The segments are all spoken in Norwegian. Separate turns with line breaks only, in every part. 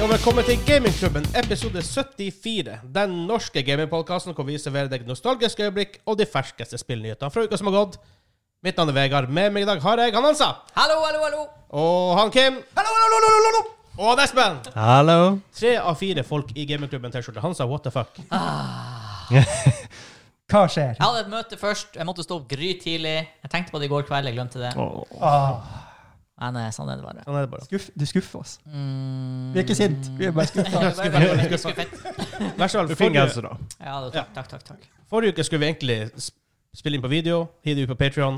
og velkommen til Gamingklubben, episode 74. Den norske gamingpodkasten hvor vi serverer deg nostalgiske øyeblikk og de ferskeste spillnyhetene fra uka som har gått. Mitt navn er Vegard. Med meg i dag har jeg han Hansa.
Hallo, hallo, hallo!
Og han Kim.
Hallo, hallo, hallo, hallo, hallo!
Og han Espen.
Hallo.
Tre av fire folk i gamingklubben T-skjorte. Hansa, what the fuck?
Hva skjer?
Jeg hadde et møte først. Jeg måtte stå opp grytidlig. Jeg tenkte på det i går kveld, jeg glemte det.
Ah,
Men eh, sånn er det bare.
Sånn er det bare.
skuff, du skuffer oss.
Mm.
Vi er ikke sint, vi er bare skuffa.
Det er bare- bare skuffet.
Vær så
Du altså-
snill,
fikk
forrige,
genser, da.
Ja, det- takk, takk, takk. takk.
forrige uke skulle vi egentlig sp- spille inn på video, hive det ut på Patreon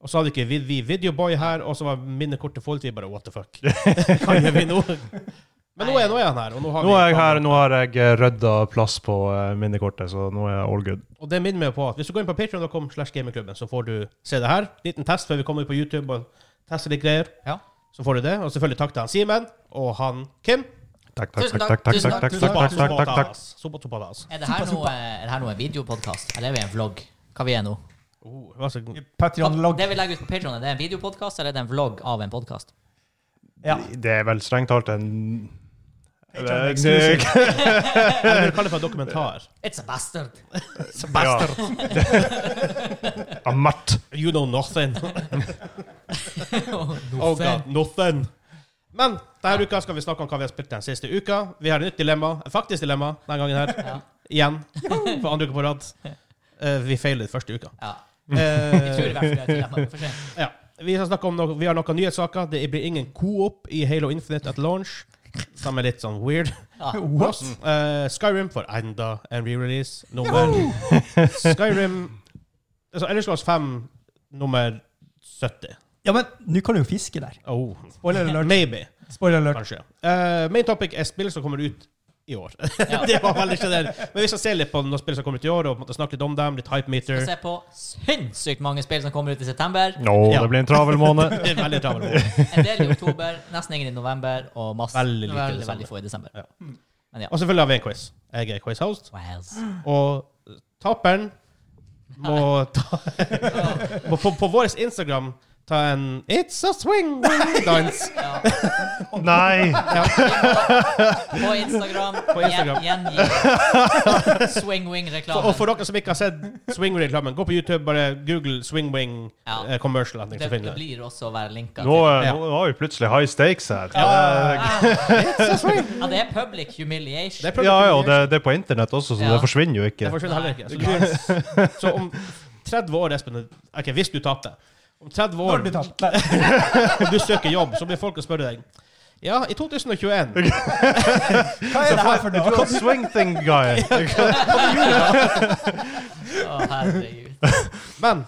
Og så hadde ikke vi, vi Videoboy her, og så var minnekortet fullt. Vi bare what the fuck? Hva gjør vi nå? Men nå er, nå er han her. Og nå har
Nå
vi
er jeg her, nå har jeg eh, rydda plass på eh, minnekortet, så nå er jeg all good.
Og det minner meg på at hvis du går inn på patreon.com slash gamingklubben, så får du se det her. Liten test før vi kommer ut på YouTube og tester litt greier.
Ja.
Så får du det. Og selvfølgelig takk til han Simen og han Kim.
Takk, takk,
Tusen
takk.
takk,
takk, takk,
tusen
takk,
takk,
takk,
tusen
takk,
takk,
takk, takk, takk, takk.
Sopa topadas.
Er det her noe, er det her noe videopodkast? Eller er vi en vlogg? Hva vi er nå?
Oh, det var så-
Patrion-logg.
Det vi legger ut på Patreon, er det en videopodkast eller er det en vlogg av en podkast?
Ja.
Det er vel strengt talt en
Patreon exclusive.
Jeg vil kalle det for en dokumentar.
It's a bastard!
Ja. Amatt.
You know nothing.
oh,
Oh god, nothing. Men denne uka skal vi snakke om hva vi har spilt den siste uka. Vi har et nytt dilemma. Et faktisk dilemma denne gangen her.
Ja.
Igjen. For andre uke på rad. Eh, vi feilet første uka.
Ja.
Eh,
Jeg tror i hvert fall det er et dilemma. Vi får se.
Ja. Vi skal snakke om noe, vi har noen nyhetssaker. Det blir ingen co-op i Halo Infinite at launch. Som er litt sånn weird.
Ja.
What?
Eh, Skyrim får enda en re-release. Nummer Skyrim altså, Ellers Lars 5, nummer 70.
Ja, men nå kan du jo fiske der.
Oh.
Spoiler alert.
Maybe,
Spoiler alert.
kanskje. Eh, main topic er spill som kommer ut i år.
Ja.
det var veldig generelt. Men vi skal se litt på noen spill som kommer ut i år, og på en måte snakke litt om dem. Litt hype
Vi
meter.
ser på sinnssykt mange spill som kommer ut i september.
Nå,
Ja.
det blir en travel måned.
Det er veldig travel måned.
En del i oktober, nesten ingen i november, og masse,
Veldig
veldig,
lite i desember.
veldig, få i desember.
Ja.
Men ja.
Og selvfølgelig har vi en quiz. Jeg er quiz-host.
Wales.
Og taperen må ta må på, på vår Instagram ta en It's a swing dance.
Ja.
Nei!
På Instagram.
På Instagram.
Gjen, Swing-wing-reklame.
Og for dere som ikke har sett swing-reklamen, gå på YouTube, bare google swing-wing
Ja.
eh, commercial. og ting,
Det,
så finner
det
du det.
blir også å være linka
Nå,
til.
eh, nå nå har vi plutselig high stakes her.
Ja,
It's a swing.
ja, det er public humiliation.
Det er
Ja, ja, og det, det er på internett også, så
Ja.
det forsvinner jo
Det
ikke.
forsvinner heller ikke. Så, du, så om 30 år, Espen Ok, hvis du tapte. Om 30
Når
år
blir tatt? Nei.
du søker jobb, så blir folk å spørre deg Ja, i 2021
Hva er det her for
Du
noe?
er swing thing guy.
Å, herregud.
Men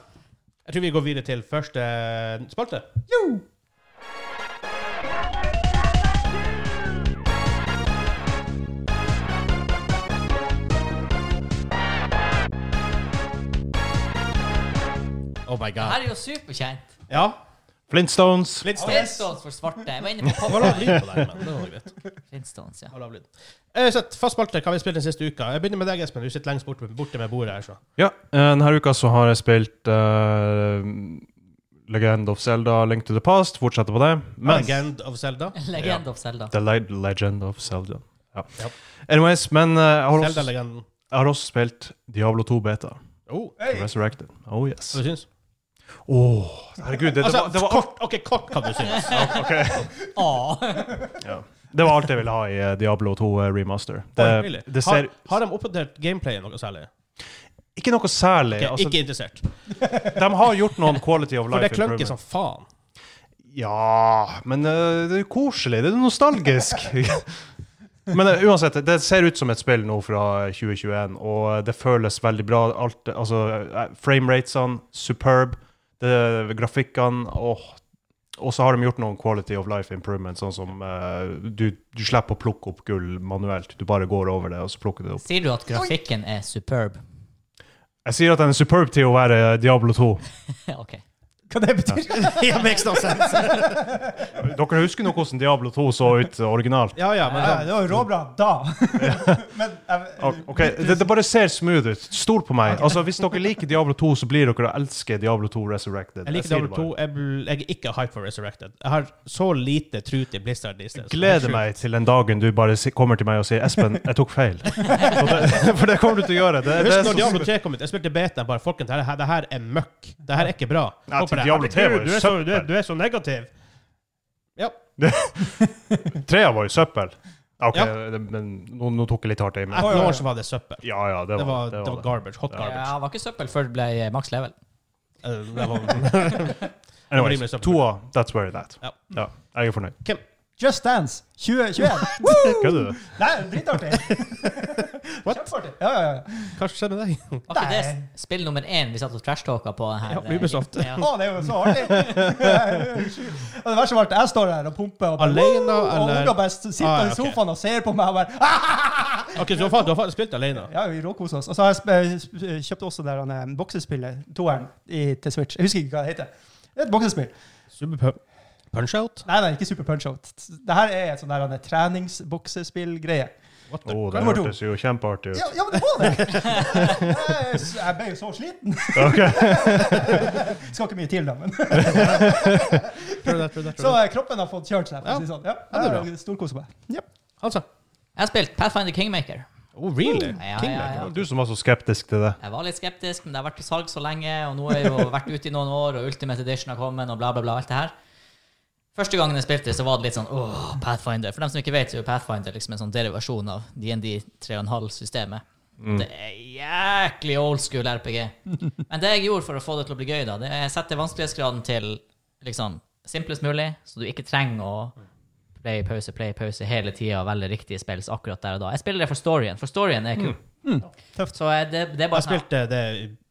jeg tror vi går videre til første spalte.
Jo.
Oh my
Det
god.
her er jo superkjent.
Ja.
Flintstones.
Flintstones.
Flintstones for svarte. Jeg var inne på
Det var lav
Popeye.
lyd på den, men det var greit.
Flintstones, ja.
Det var lav lyd. Eh, Så fast spalte, hva har vi spilt den siste uka? Jeg begynner med deg, Espen. Du sitter lengst borte, borte med bordet her. Så.
Ja, eh, denne uka så har jeg spilt eh, Legend of Zelda, Link to the Past, fortsetter på det. Men
Legend of Zelda.
Legend of Zelda.
The Le- Legend of Zelda. Ja.
Ja.
Anyways, men eh, jeg, har også,
Zelda-legenden.
jeg har også spilt Diablo 2 Beta.
Oh, hva
Resurrected. Oh yes.
du syns?
Åh, herregud, det, det,
Altså,
var, det, var,
kort, ok, kort hva du syns.
Åh.
ja. det var alt jeg ville ha i eh, Diablo 2 remaster.
Oi, really?
Det, det
har,
ser
har de oppdatert gameplayet noe særlig?
ikke noe særlig.
Ok,
Altså,
ikke interessert.
de har gjort noen quality of
For
life
det klønker som
improvement.
faen.
Ja, men eh, det er jo koselig. Det er nostalgisk. men eh, uansett, det ser ut som et spill nå fra 2021, og eh, det føles veldig bra. Alt, altså, eh, Frameratesene, superb. Det, grafikkene åh. Og så har de gjort noen quality of life improvement, sånn som eh, du, du slipper å plukke opp gull manuelt. Du bare går over det, og så plukker du det opp.
Sier du at grafikken er superb?
Jeg sier at den er superb til å være Diablo 2.
OK.
Hva det betyr?
yeah, makes no sense.
Dere husker nå hvordan Diablo 2 så ut eh, originalt?
Ja, ja, men sånn-
Ja, det var jo råbra da. Men eh, jeg,
Ok, det, det bare ser smooth ut. Stol på meg. Altså, Hvis dere liker Diablo 2, så blir dere å elske Diablo 2 Resurrected.
jeg liker
sier det
Diablo 2.
bare.
Jeg, bl- jeg er ikke hype for Resurrected. Jeg har så lite tru til Blizzard these days.
Gleder meg til den dagen du bare si- kommer til meg og sier 'Espen, jeg tok feil'. Og det, for det kommer du til å gjøre. Det,
Husk
det er
når
så
Diablo 3 kom ut. Jeg spilte beta. Bare, folkens, det her, det her er møkk. Det her er ikke bra.
Ja,
Folk
til
bare,
Diablo 3 var
herregud,
jo
du, er så,
søppel.
du, er, du er så negativ. Ja.
Trea var jo søppel. Ok,
Ja.
det, men nå, nå tok jeg litt hardt i. Men
Etter noen år så var det søppel.
ja, ja, det
Det var,
var
det var garbage. Hot
Ja,
garbage.
han var ikke søppel før det ble eh, maks level.
Eh, Det var, rimelig
Anyways,
søppel.
toa, that's where it at.
Ja.
Ja, jeg er fornøyd.
Just Dance 2021.
Kødder du?
Nei, dritartig. Kjempeartig. Ja, ja, ja.
hva skjedde med deg?
Var ikke det s- spill nummer én vi satt og trashtalka på? Her,
Ja, Ubisoft.
eh, ja.
Å, det er jo så artig! og det verste var at jeg står her og pumper og bare,
Alene,
«Woo!» Og
eller?
ungene bare sitter
Ah, ja,
i
ok.
sofaen og ser på meg og bare ah!
Ok, så du har fa- du har faktisk spilt alene?
Ja, vi råkoser oss. Og så har jeg sp- sp- kjøpt også det der, eh, boksespillet, toeren, i- til Switch. Jeg husker ikke hva det heter. Det er et boksespill.
Super Punch-out?
Nei, nei, ikke Super Punch-Out. Det her er et sånn der, eh, treningsboksespill-greie.
What the
Å, det
Nummer to.
hørtes jo kjempeartig
Ja,
ut.
ja, men det var det! Jeg, jeg ble jo så sliten. Skal ikke mye til, da. men...
Prøv det, prøv det, prøv
Så
det.
eh, kroppen har fått kjørt seg. for å si sånn. Ja,
Ja, det er
jeg
bra.
Storkoser meg. Ja.
Altså.
Jeg har spilt Pathfinder Kingmaker.
Oh, really?
Ja, ja,
Kingmaker?
ja.
Du som var så skeptisk til det.
Jeg var litt skeptisk, men det har vært på salg så lenge, og nå har jeg jo vært ute i noen år, og Ultimate Edition har kommet, og bla, bla, bla, alt det her. Første gangen jeg spilte, så var det litt sånn åh, Pathfinder. For dem som ikke vet, så er jo Pathfinder liksom en sånn derivasjon av DND 3,5-systemet. Det er jæklig old school RPG. Men det jeg gjorde for å få det til å bli gøy, da, det er å sette vanskelighetsgraden til liksom simplest mulig, så du ikke trenger å play, pause, play, pause hele tida og velge riktige spills akkurat der og da. Jeg spiller det for storyen, for storyen er kul. Så eh, det,
Mm.
det er
Jeg
bare sånn
spilte det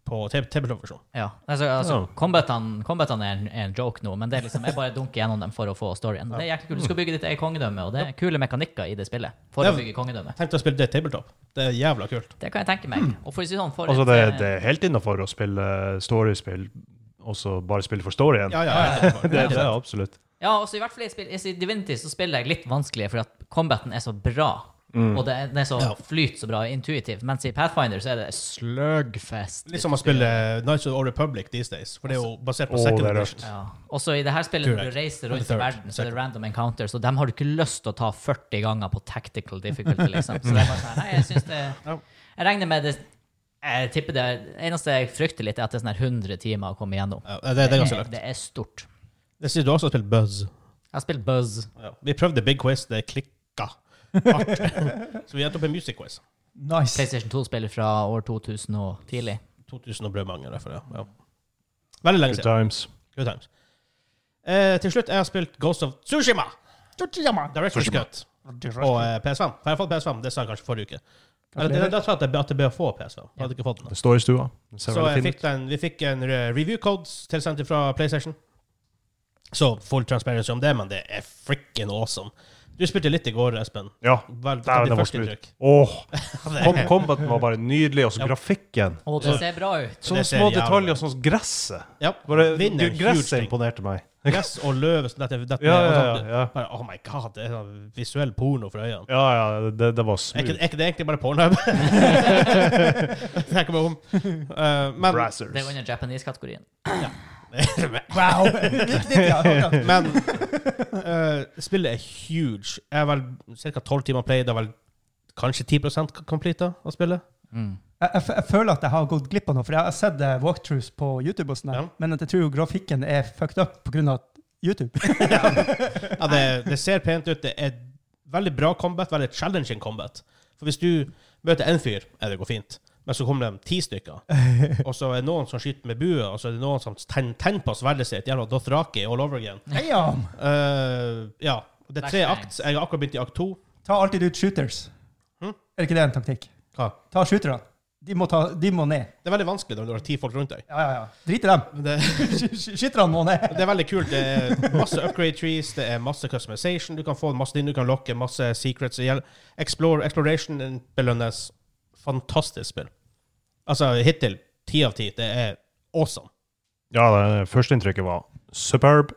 på tabletop-versjon.
ja, altså, altså
Ja.
combatene, combatene er, en, er en joke nå, men det er liksom, jeg bare dunker gjennom dem for å få storyen. Det er jæklig kult. Du skal bygge ditt eget kongedømme, og det er kule mekanikker i det spillet. For
Ja.
å bygge kongedømme.
Tenkte å spille det tabletop. Det er jævla kult.
Det kan jeg tenke meg. Og for å si sånn, for
Altså,
et,
det,
eh,
det er helt innafor å spille storiespill, og så bare spille for storyen.
Ja, ja, ja.
Det, det er absolutt.
Ja, også i hvert fall i, spill, i Divinity så spiller jeg litt vanskeligere, for at combaten er så bra.
Hmm.
Og det, er- den er så
Ja.
flyt så bra og intuitiv. Mens i Pathfinder så er det slugfest.
Litt som å spille Nights of the Old Republic these days, for det er jo basert på
Åh,
second
det er
edition.
Ja. Også i det her spillet, når
Correct.
du reiser
And
rundt
the
i
third,
verden, så er det
second.
random encounters, og dem har du ikke lyst til å ta 40 ganger på tactical difficulty, liksom. Så det er bare sånn, nei, jeg synes det
Ja.
Jeg regner med det Jeg tipper det eneste jeg frykter litt, er at det er sånn her 100 timer å komme igjennom.
Ja, det, det er ganske løkt.
det er stort.
Det sier du også har spilt Buzz.
Jeg har spilt Buzz.
Ja. Vi prøvde Big Quiz, det klikka hardt. Så vi endte opp i Music Quiz.
Nice.
PlayStation 2-spillet fra år 2000 og tidlig.
2000 og brødmanger, derfor, ja. ja. Veldig lenge
Good
siden.
times.
Good times. Eh, til slutt, jeg har spilt Ghost of Tsushima.
Tortillama.
Director's
Tsushima.
Cut. Og eh, PS5. For jeg har fått PS5, det sa jeg kanskje forrige uke. Eller, det, da sa jeg at jeg be- at jeg bør få PS5. Jeg hadde ikke fått den.
Det står i stua. Det ser
Så
veldig
jeg
fint
fikk den, vi fikk en re- review code tilsendt fra PlayStation. Så full transparency om det, men det er frikken awesome. Du spilte litt i går, Espen.
ut. Ja.
Vel,
Der,
ditt
det var
første
smooth.
inntrykk.
Åh,
Det
kom,
er-
combaten var bare nydelig, og så grafikken.
Og det ser bra ut.
Det
Sånne
ser
små
jævlig
detaljer, sånn som gresset.
Ja,
Bare,
Vinner en huge
gresset
ting.
imponerte meg.
Gress og løv og sånn, dette, dette,
Ja,
og
ja,
sånn,
ja, ja.
Bare, oh my god, det er sånn visuell porno for øynene.
Ja, ja, det, det var
Er ikke,
smooth.
er ikke det egentlig bare pornhub? Tenker meg om. Eh, men
Brassers.
Det er under Japanese-kategorien.
Wow. Viktig, ja. akkurat.
men eh, spillet er huge. Jeg er vel ca. 12 timer play. Det er vel kanskje 10 completa av spillet.
Mm.
Jeg, jeg, f- jeg føler at jeg har gått glipp av noe, for jeg har sett eh, walkthroughs på YouTube, og sånn der,
Ja.
men at jeg tror jo grafikken er fucked up på grunn av YouTube.
Ja, det, det ser pent ut. Det er veldig bra combat, veldig challenging combat. For hvis du møter én fyr, er det går fint. Men så kommer det ti stykker. Og så er det noen som skyter med bue, og så er det noen som tenner ten på sverdet sitt. Jævla Dothraki all over again.
Damn!
Eh, ja. Det er tre
Flashbang.
akt. Jeg har akkurat begynt i akt to.
Ta alltid ut shooters.
Hm?
Er ikke det en taktikk?
Hva?
Ta shooterne. De må, ta, de må ned.
Det er veldig vanskelig når du har ti folk rundt deg.
Ja, ja, ja. Drit i dem.
Men det,
Sk- sk- Skytterne må ned.
det er veldig kult. Det er masse upgrade trees, det er masse customization. Du kan få masse din, du kan lokke masse secrets. Igjen. Explore, exploration belønnes. Fantastisk spill. Altså, hittil ti av ti. Det er awesome.
Ja, det førsteinntrykket var superb.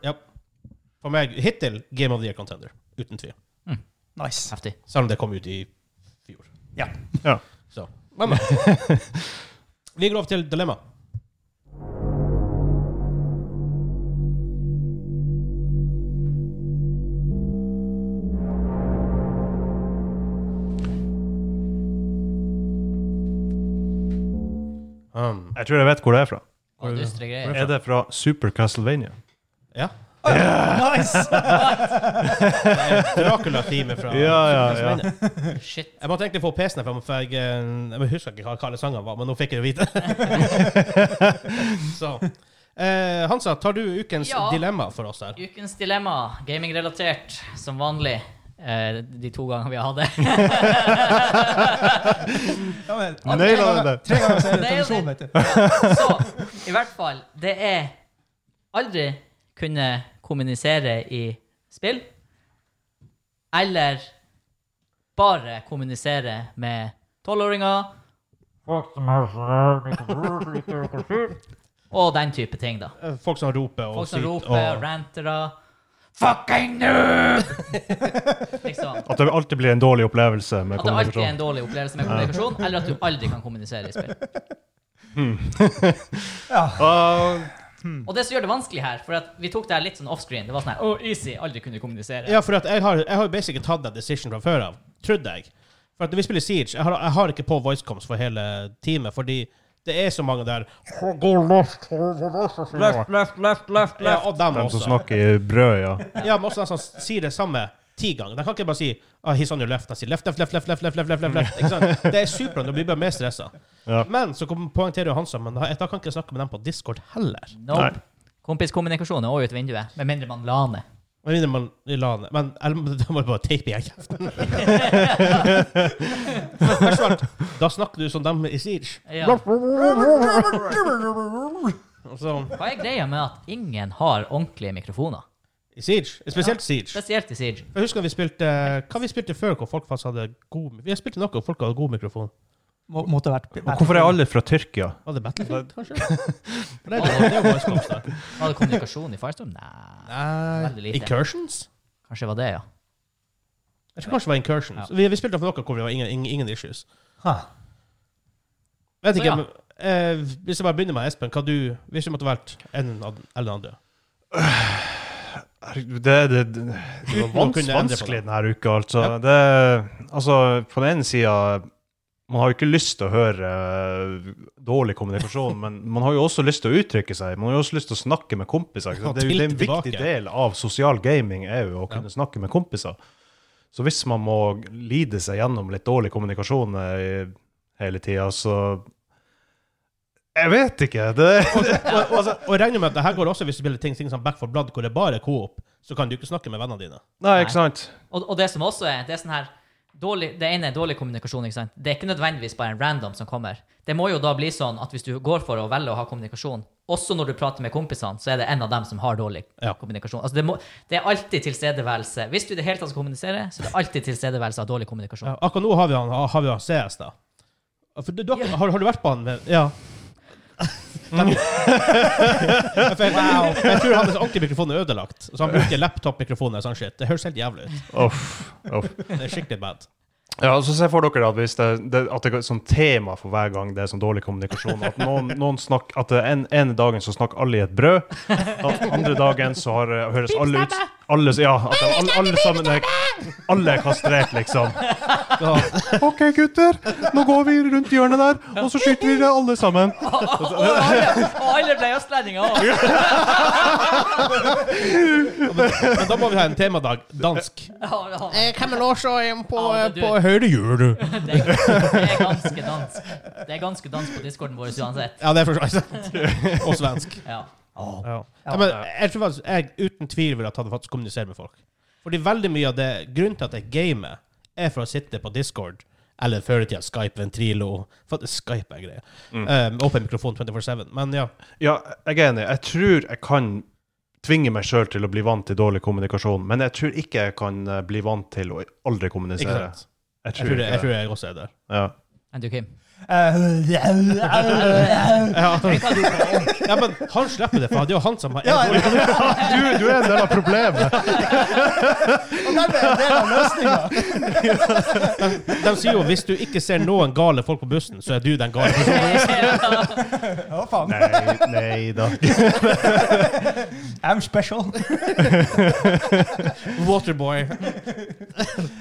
For meg hittil Game of the Year Contender. Uten tvil.
Nice.
Heftig.
Selv om det kom ut i fjor.
Ja.
Ja.
Så. Men, men. Vi går over til dilemma. Um,
Jeg tror jeg vet hvor det er fra.
Og dystre greier.
Er det fra Super Castlevania?
ja.
Nice!
Dracula-theme fra
Ja, ja, ja.
Shit.
Jeg måtte egentlig få PC-en her, for jeg, eh, jeg husker ikke hva hva alle sangene var, men nå fikk jeg det vite. så. Eh, Hansa, tar du ukens
Ja.
dilemma for oss her?
Ukens dilemma, gamingrelatert, som vanlig. Eh, de to gangene vi har hatt det.
Ja, men,
Naila
sånn-
den der.
Tre ganger så er det
Nailed
tradisjon,
it.
vet du.
Så i hvert fall, det er aldri kunne kommunisere i spill, eller bare kommunisere med tolvåringer. Og den type ting, da.
Eh, Folk som roper og
Folk som
syter
roper,
og-
rantere Fucking noob! liksom.
At det alltid blir en dårlig opplevelse med
At det alltid er en
kommunikasjon.
dårlig opplevelse med kommunikasjon, eller at du aldri kan kommunisere i spill.
Ah,
Og det som gjør det vanskelig her, for at vi tok det her litt sånn offscreen. Det var sånn her, oh, easy, aldri kunne kommunisere.
Ja, for at jeg har jeg har jo basically tatt den decision fra før av, trodde jeg. For at når vi spiller Siege, jeg har, jeg har ikke på voicecoms for hele teamet, fordi det er så mange der.
Left, left, left, left,
Ja, og dem
de som
også.
snakker i brød, ja.
Ja, men også de som sier det samme ti ganger. De kan ikke bare si ah, 'He's on your left'. De sier left, left, left, left, left, left, left, left, left, left. Ikke sant? Det er supert. Du blir bare mer stressa.
Ja.
Men så kom- poengterer jo Hansa, men jeg da kan ikke snakke med dem på Discord heller.
Nei.
Nope. Kompiskommunikasjon er også ut vinduet, med mindre man laner.
Med mindre man la ned Men eller, da må du bare tape igjen kjeften. Men først og fremst, da snakker du som dem i Siege.
Ja.
Og så-
Hva er greia med at ingen har ordentlige mikrofoner?
i Siege. Spesielt Siege.
Spesielt i Siege.
Jeg husker vi spilte Hva vi spilte før hvor folk faktisk hadde god Vi spilte noe hvor folk hadde god mikrofon.
Må, måtte ha vært
Og hvorfor er alle fra Tyrkia?
Var det Battlefield, kanskje? For det er det, det er voice comms der.
Var det kommunikasjon i Firestorm? Nei. Veldig lite.
Incursions?
Kanskje det var det, ja.
Jeg tror kanskje det var Incursions. Vi, vi spilte for noe hvor det var ingen, ingen, ingen issues.
Ha.
Vet
Så
ikke,
ja.
men, eh, Hvis jeg bare begynner med Espen, hva du Hvis du måtte valgt en av den- eller den andre
Herregud, Det, det, det, det var
Uten å
vans
kunne endre på
vanskelig
det.
denne uka, altså.
Ja.
Det, altså, på den ene sida Man har jo ikke lyst til å høre eh, dårlig kommunikasjon, men man har jo også lyst til å uttrykke seg. Man har jo også lyst til å snakke med kompiser. Ikke
Og
sant? Det er jo det er en
tilte tilbake.
viktig del av sosial gaming er jo å kunne snakke med kompiser. Så hvis man må lide seg gjennom litt dårlig kommunikasjon eh, hele tida, så Jeg vet ikke. Det,
Og, og, og jeg regner med at det her går også hvis du spiller ting, ting som Back for Blood, hvor det bare er coop, så kan du ikke snakke med vennene dine.
nei, ikke sant?
Og, og det som også er, det er sånn her dårlig, Det ene er dårlig kommunikasjon. ikke sant? Det er ikke nødvendigvis bare en random som kommer. Det må jo da bli sånn at hvis du går for å velge å ha kommunikasjon, også når du prater med kompisene, så er det en av dem som har dårlig
Ja.
kommunikasjon. Altså det, må, det er alltid tilstedeværelse. Hvis du i det hele tatt skal kommunisere, så er det alltid tilstedeværelse av dårlig kommunikasjon.
Ja, akkurat nå har vi han, har vi han CS, da. For du, dere- har, har du vært på han? Med, ja. jeg, for, jeg, jeg tror hans ordentlige mikrofon er ødelagt, så han bruker laptop-mikrofoner. og Sånn shit. det høres helt jævlig ut.
Uff. Uff.
Det er skikkelig bad.
Ja, og så Se for dere at, hvis det, det, at det er sånn tema for hver gang det er sånn dårlig kommunikasjon. At noen, noen snakk- at det en, ene dagen så snakker alle i et brød, da- andre dagen så har, eh, høres alle ut alle, Ja, at de, alle, alle sammen er, alle er kastrert, liksom.
Da,
OK, gutter, nå går vi rundt hjørnet der, og så skyter vi det alle sammen.
Og alle, og alle ble østlendinger òg!
men da må vi ha en temadag. Dansk. Eh, Hvem er også på,
Ja, men du- på
høydehjul?
Det er det er ganske dansk. Det er ganske dansk på discorden vår uansett.
Ja, det er for så vidt sant. Og svensk.
Ja.
Ja. men jeg tror faktisk jeg uten tvil ville ha tatt og faktisk kommunisere med folk. Fordi veldig mye av det grunnen til at jeg gamer, er for å sitte på Discord. Eller før i tida Skype, Ventrilo For at Skype er greia.
Mm.
Um, Åpen mikrofon 24-7. Men ja.
Ja, jeg er enig. Jeg tror jeg kan tvinge meg sjøl til å bli vant til dårlig kommunikasjon, men jeg tror ikke jeg kan eh, bli vant til å aldri
Ikke
kommunisere.
sant?
Jeg
Jeg
tror
tror, det, jeg
ikke det.
tror jeg også er der.
Ja.
Enn du, Kim?
Eh,
Ja, ja, men han slipper det, for det er jo han som har
Ja, ja.
Du, du er en del av problemet.
Og dermed er en del av løsninga.
De sier jo hvis du ikke ser noen gale folk på bussen, så er du den gale. personen.
Ja, faen.
Nei, nei da.
I'm special.
Waterboy.
Nei,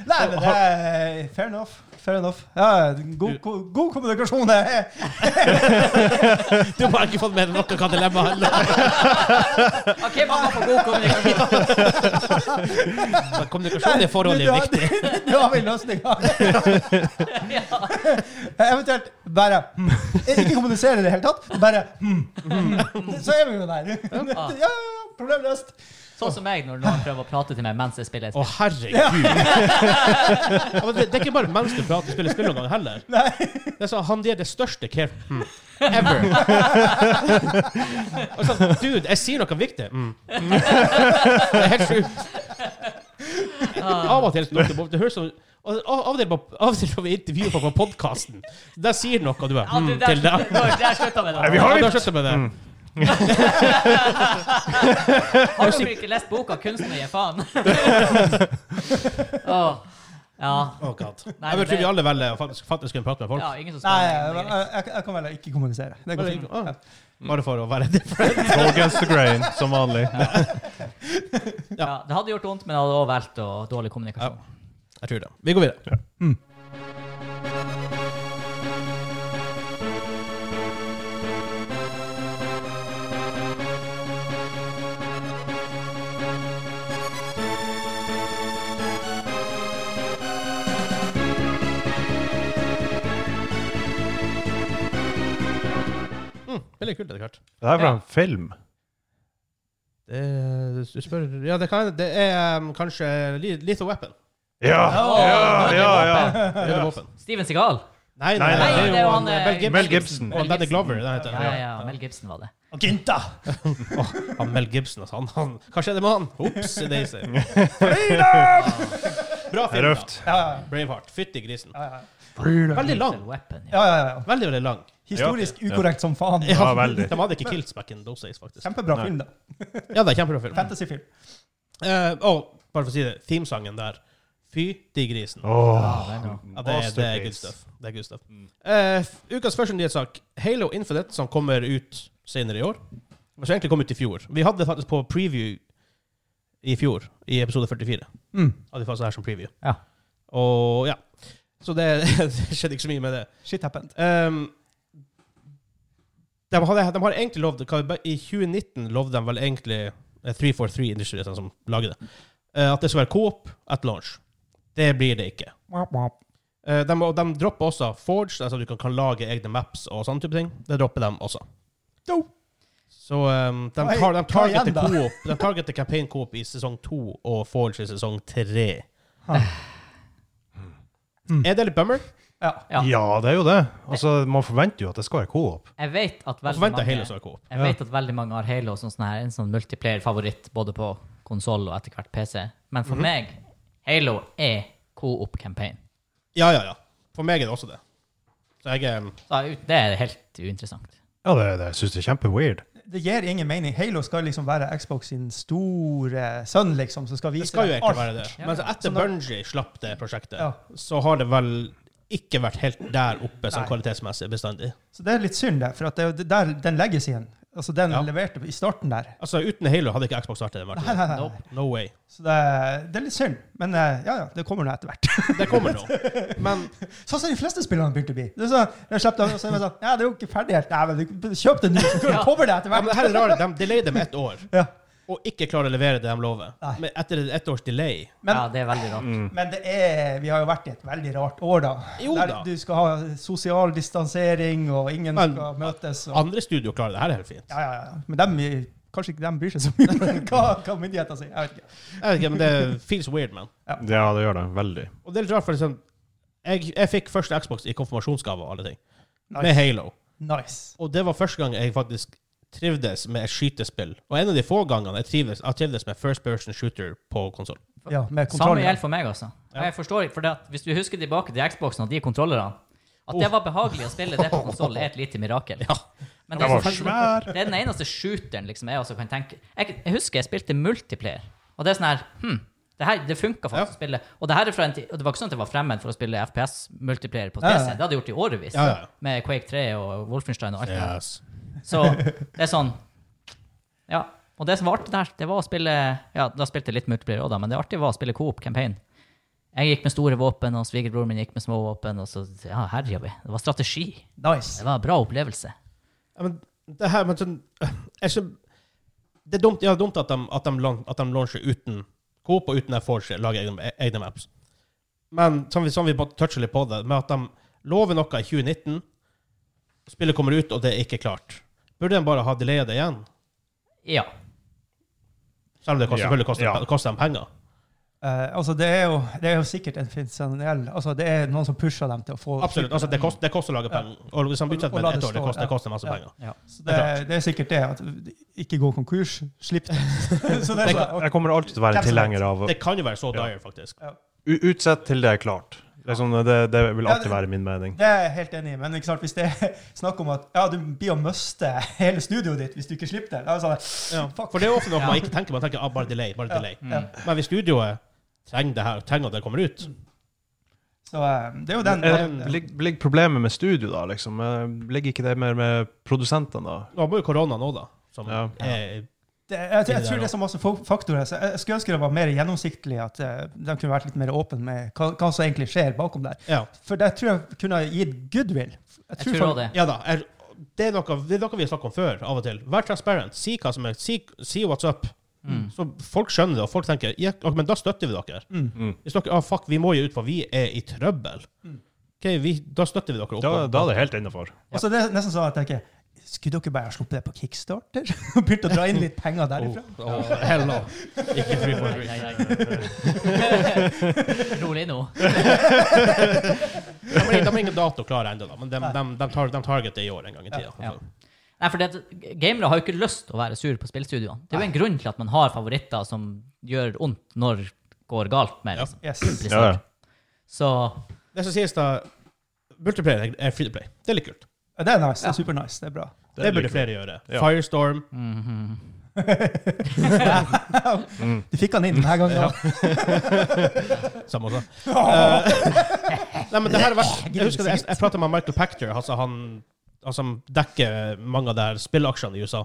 men det er fair enough. Fair enough. Ja, god, god, god kommunikasjon. det er-
Du har ikke fått med deg noe hva dilemmaet handler om.
OK, mamma får god kommunikasjon.
Men Kommunikasjon i forholdet er jo
Du- du
viktig.
har- Du har vel løsninga. Eventuelt bare hmm. Ikke kommunisere i det hele tatt. Bare hmm. hmm. Så er vi jo der. Ja, ja, ja, problem løst.
Sånn som meg når noen prøver å prate til meg mens jeg spiller et
Å,
spill.
herregud. Ja, men det, det er ikke bare mens du prater spiller spill noen gang heller.
Nei.
Det er sånn, han gir det største care mm. ever. Og sånn, Dude, jeg sier noe viktig. Mm. Det er helt sjukt. Av og til så dukker det opp. Det høres som og av av og til på- av og til får vi intervjue folk på podkasten. Der sier noe, og du bare
Ja, du,
mm,
der, Mm.
til
der,
dem.
der, der slutta med
Nei,
det.
vi
Ja,
har
du har
litt.
sluttet med det.
Har du ikke lest boka 'Kunsten å gi faen'? Åh. Ja.
Oh, God.
Nei,
jeg
men
tror vi
det-
alle velger å faktisk, faktisk kunne prate med folk.
ja, ingen som
Nei,
spør. meg,
jeg,
det er greit.
jeg, jeg kan vel ikke kommunisere. Det går
Bare,
fint.
ah, bare for å være different.
Go against the grain, som vanlig.
Ja.
Ja, det hadde gjort vondt, men jeg hadde også valgt å dårlig kommunikasjon.
Jeg tror det. Vi går videre. Mm. Mm, veldig kult etter hvert.
Det er fra en film.
Det, du spør, ja, det, kan, det er um, kanskje Li- Lethal Weapon.
Ja, ja, ja. ja.
Det er det våpen.
Steven Seagal.
Nei,
Nei, nei,
det er jo han,
eh,
Mel Gibson.
Mel Gibson.
Og Danny Glover, det heter
Ja,
han.
ja, ja, Mel Gibson var det.
Og Ginta!
Han Mel Gibson, altså. Han, han, hva skjedde med han? Ops, Daisy. Bra
Det er
film. da.
røft.
Ja, ja,
Braveheart. Fytti grisen.
ja, ja.
Veldig lang.
Lethal Weapon, ja.
ja, ja, ja.
Veldig, veldig lang.
Historisk ukorrekt som faen.
Ja, veldig.
De hadde ikke kills back in those days, faktisk.
Kjempebra
Nei.
film, da.
Mm. Ja, det er kjempebra film.
Fantasyfilm.
Eh, og bare for å si det, themesangen der. Fytti grisen.
Åh,
Ja, den,
Ja, det, er- det er good
masterpiece.
stuff. Det er good stuff. Eh, f- ukas første nyhetssak. Halo Infinite, som kommer ut senere i år. Som egentlig kom ut i fjor. Vi hadde det faktisk på preview i fjor, i episode 44.
Mm.
Hadde vi faktisk det her som preview.
Ja.
Og ja. Så det, det skjedde ikke så mye med det.
Shit happened.
Ehm, de, hadde, de har egentlig lovd hva- I 2019 lovde de vel egentlig eh, 343 Industries, sånn som lager det, eh, at det skal være Coop at launch. Det blir det ikke. Eh, De, og de dropper også Forge, altså du kan, kan lage egne maps og sånne type ting. Det dropper de også.
Dope.
Så um, de,
Hva er-
tar, de,
hva
targeter
igjen da?
Coop, de targeter Campaign Coop i sesong to og Forge i sesong tre.
Ha.
Er det litt bummer?
Ja.
Ja.
Ja, det er jo det. Altså, Man forventer jo at det skal være co-op.
Jeg vet at
Man
veldig
forventer
mange
hele seg Coop.
Jeg vet at veldig mange har Halo som sånn her, en sånn multiplayer-favoritt både på konsoll og etter hvert PC. Men for meg, Halo er co-op-campaign.
Ja, ja, ja. For meg er det også det. Så jeg um,
Det er helt uinteressant.
Ja, det, det syns jeg er kjempeweird.
Det gir ingen mening. Halo skal liksom være Xbox sin store sønn, liksom, som skal
Det
vise
skal jo
deg
egentlig være det.
Ja.
Men så etter
Sånn da-
Bungie slapp det prosjektet,
Ja.
så har det vel ikke vært helt der oppe sånn
Nei.
kvalitetsmessig bestandig.
Så det er litt synd, det. For at det, er jo det der, den legacyen, altså den
Ja.
leverte i starten der
Altså, uten Halo hadde ikke Xbox startet det. Martin.
Nope.
No way.
Så det, det er litt synd. Men eh, ja, ja, det kommer nå etter hvert.
Det kommer nå. Men
Sånn som de fleste spillerne begynte å bli. Det er sånn, jeg slapp dem, og så er det sånn, ja, det er jo ikke ferdig helt. Nei, men du- kjøp det nå, så kommer det etter
ja, men
hvert.
det her er rart. De delayed dem ett år,
Ja.
og ikke klarer å levere det de lover.
Nei.
Men etter ett års delay
Men,
ja, det er veldig rart.
men det er, vi har jo vært i et veldig rart år, da.
Jo
Der
da.
du skal ha sosial distansering, og ingen
Men-
skal møtes. Og,
Andre studio klarer det her helt fint.
ja, ja, ja. Men dem, eh, kanskje ikke de bryr seg så mye om hva, hva myndighetene sier. Jeg vet ikke.
Jeg vet ikke, men det feels weird, man.
Ja, det gjør det. Veldig.
Og det er litt rart, for liksom, jeg, jeg fikk første Xbox i konfirmasjonsgave og alle ting, med
Nice.
Halo.
Nice.
Og det var første gang jeg faktisk trivdes med et skytespill. Og en av de få gangene jeg trivdes, jeg trivdes med first person shooter på konsoll.
Ja, med
Samme
kontroll.
gjelder for meg, altså. Og Jeg forstår ikke, for det at, Hvis du husker tilbake til Xboxen og de kontrollerne At det var behagelig å spille det på konsoll, er et lite mirakel. Men
Den var
er så-
svær.
det er den eneste shooteren liksom jeg også kan tenke jeg, jeg husker jeg spilte multiplayer, og det er sånn her hm, det, her, det funka faktisk å spille. Og det her er fra en tid, og det var ikke sånn at jeg var fremmed for å spille FPS-multiplayer på PC.
Ja, ja.
Det hadde jeg gjort i årevis.
Ja, ja, ja.
Med Quake 3 og Wolfenstein og alt det der.
Yes.
Så det er sånn Ja. Og det som var artig der, det var å spille Ja, da spilte jeg litt multiplayer òg, da, men det artige var å spille coop campaign. Jeg gikk med store våpen, og svigerbroren min gikk med små våpen, og så ja, herja vi. Det var strategi. Det
Nice.
var en bra opplevelse.
Ja, men det her men sånn, jeg skjøn- Det er dumt, ja, det er dumt at, de, at, de, lan- at de launcher uten Coop og uten Forge lager egne, egne maps. Men som vi, som vi bare toucher litt på det, med at de lover noe i 2019, spillet kommer ut, og det er ikke klart. Burde de bare ha delaya det igjen?
Ja.
Selv om det koster,
Ja,
selvfølgelig koster,
ja.
det koster dem penger.
Eh, altså, det er, jo, det er jo sikkert en finansiell altså, Det er noen som pusher dem til å få
Absolutt. Altså, det, kost, det koster å lage penger. Og hvis de utsetter
Og
med
la
et
det
år, det
stå,
koster,
ja.
det koster masse
Ja.
penger.
Så det, det er sikkert det. At ikke gå konkurs, slipp det. så det er sånn,
Altså, Jeg kommer alltid til å være en
Hvem som helst.
tilhenger av
Det kan jo være så
Ja.
dire, faktisk.
U- Utsett til det er klart. Liksom, det, det vil
Ja,
alltid
det-
være min mening.
Det er jeg helt enig i, men ikke sant, hvis det er snakk om at ja, du blir å miste hele studioet ditt hvis du ikke slipper det da er det sånn,
Ja.
fuck.
For det er ofte noe
Ja.
man ikke tenker. Man tenker ah, bare delay, bare
Ja.
delay.
Ja.
Mm.
Men hvis studioet trenger det her, trenger at det kommer ut
Så eh, det er jo den
Eh, Ligger ligger problemet med studio, da? liksom? Eh, Ligger ikke det mer med produsentene, da?
Nå var jo korona nå, da. Som
Ja.
er,
det, jeg, jeg, tror det er så masse fak- faktorer. Så jeg jeg skulle ønske det var mer gjennomsiktlig, at eh, de kunne vært litt mer åpne med hva, hva som egentlig skjer bakom der.
ja.
For det tror jeg kunne ha gitt goodwill.
Jeg tror også det.
ja da. Er, det, er noe, det er noe vi har snakket om før, av og til. Vær transparent. Si hva som er Si, si what's up.
Mm.
Så folk skjønner det, og folk tenker ja, ok, men da støtter vi dere.
Mm.
Hvis dere ah, fuck, vi må jo ut, for vi er i trøbbel. Ok, vi, da støtter vi dere opp.
Da, da er det helt innafor.
Altså, det er nesten sånn at jeg tenker skulle dere bare ha sluppet det på Kickstarter? Og begynt å dra inn litt penger derifra?
Åh, åh, hell no. Ikke fri for
Nei, nei, nei. Rolig nå.
De har ingen- de har ingen dato klar ennå, da, men de, de, de, tar, de target det i år en gang i tida.
Ja. Nei, for det, Gamere har jo ikke lyst til å være sur på spillstudioene. Det er jo en grunn til at man har favoritter som gjør vondt når det går galt. med
Ja.
liksom.
Yes.
Ja, ja.
Så
Det som sies da Multiplayer er- er free to play. Det er litt kult.
Ja, Det er nice. Det er super nice. Det er bra.
Det, burde flere gjøre.
Ja.
Firestorm.
mhm.
Mm.
Du fikk han inn denne gangen. da.
Samme også. Eh, nei, men det her var, jeg husker det, jeg, jeg pratet med Michael Pachter, altså han han som dekker mange av de her spillaksjene i USA.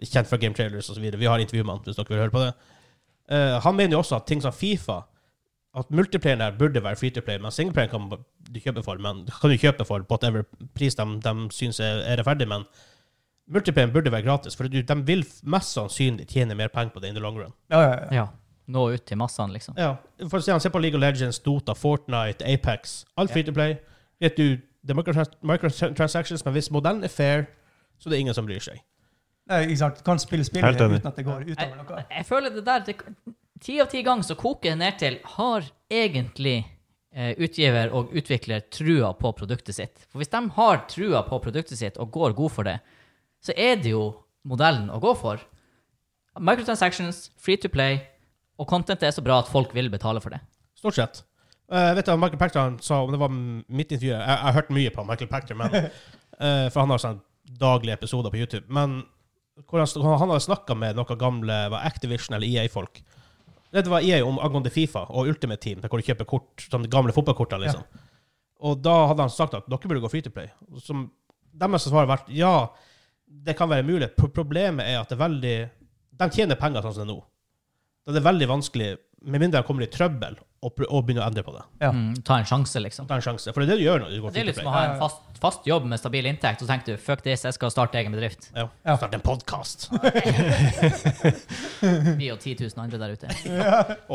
Kjent fra Game Trailers osv. Vi har intervju med han hvis dere vil høre på det. Eh, han mener jo også at ting som Fifa At multiplayeren der burde være free to play, men singleplayeren kan ba- du kjøpe for men kan du kjøpe for whatever pris de, de syns er, er rettferdig, men multiplayeren burde være gratis, for du, de vil mest sannsynlig tjene mer penger på det in the long run.
Ja, ja, ja.
ja, nå ut til massene, liksom.
Ja, for å si han ser på League of Legends, Dota, Fortnite, Apex. Alt free to play. Vet du, det er microtrans- microtransactions, men hvis modellen er fair, så det er ingen som bryr seg.
Nei, ikke sant. Du kan spille spillet
Helt enig.
uten at det går utover noe.
Jeg, jeg føler det der det, Ti av ti ganger så koker det ned til har egentlig eh, utgiver og utvikler trua på produktet sitt. For hvis de har trua på produktet sitt og går god for det, så er det jo modellen å gå for. Microtransactions, free to play, og contentet er så bra at folk vil betale for det.
Stort sett. Eh, vet du hva Michael Pachter han sa om det var m- mitt intervju? Jeg, jeg har hørt mye på Michael Pachter, men, eh, for han har sånn daglige episoder på YouTube. Men hvor han, st- han hadde snakka med noen gamle var Activision eller E EA-folk. Det var EA E om angående Fifa og Ultimate Team, der hvor du kjøper kort, sånne gamle fotballkortene. liksom. Og da hadde han sagt at dere burde gå free to play. Som deres svar har vært ja, det kan være mulig. Pro- Problemet er at det er veldig De tjener penger sånn som det er nå. Da er det veldig vanskelig, med mindre de kommer i trøbbel, å pr- å begynne å endre på det.
Ja.
Mm, ta en sjanse, liksom.
Ta en sjanse. For det er det du gjør når du går
Det er
free
litt
to
som å
play.
ha en fast, fast jobb med stabil inntekt, og så tenker du fuck this, jeg skal starte egen bedrift.
Ja.
Ja.
Starte en podkast. Å,
Vi og 10 000 andre der ute.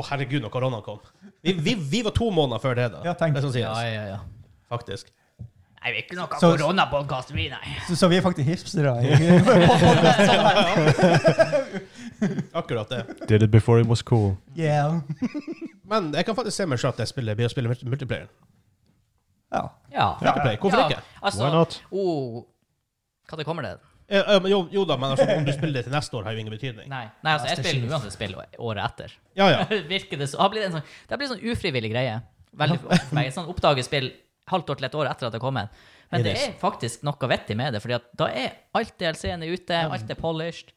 herregud, når koronaen kom. Vi, vi, vi var to måneder før det, da.
Ja, tenk.
Det sånn som sies,
Ja, ja, ja.
faktisk.
Nei, vi er ikke noe
Så-
koronapodkast, vi, nei.
Så, så vi er faktisk hipstere. i-
sånn
Akkurat det.
Did it before it was cool.
yeah.
Men jeg kan faktisk se meg selv at jeg spiller, blir å spille multi- multiplayer.
Ja.
Ja.
Multiplayer, Hvorfor ikke?
Altså,
Why not?
Oh, hva det kommer det?
Eh, eh, men jo, jo da, men altså, om du spiller det til neste år, har jo ingen betydning.
Nei, nei altså, jeg
Master
spiller
Chief.
uansett spill året etter.
Ja, ja.
Virker det så, har blitt en sånn, det har blitt en sånn ufrivillig greie. Veldig for meg. En Sånn oppdage spill halvt år til et år etter at det kom en. Men det er faktisk noe vettig med det, Fordi at da er alt DLC-ene ute, alt er polished.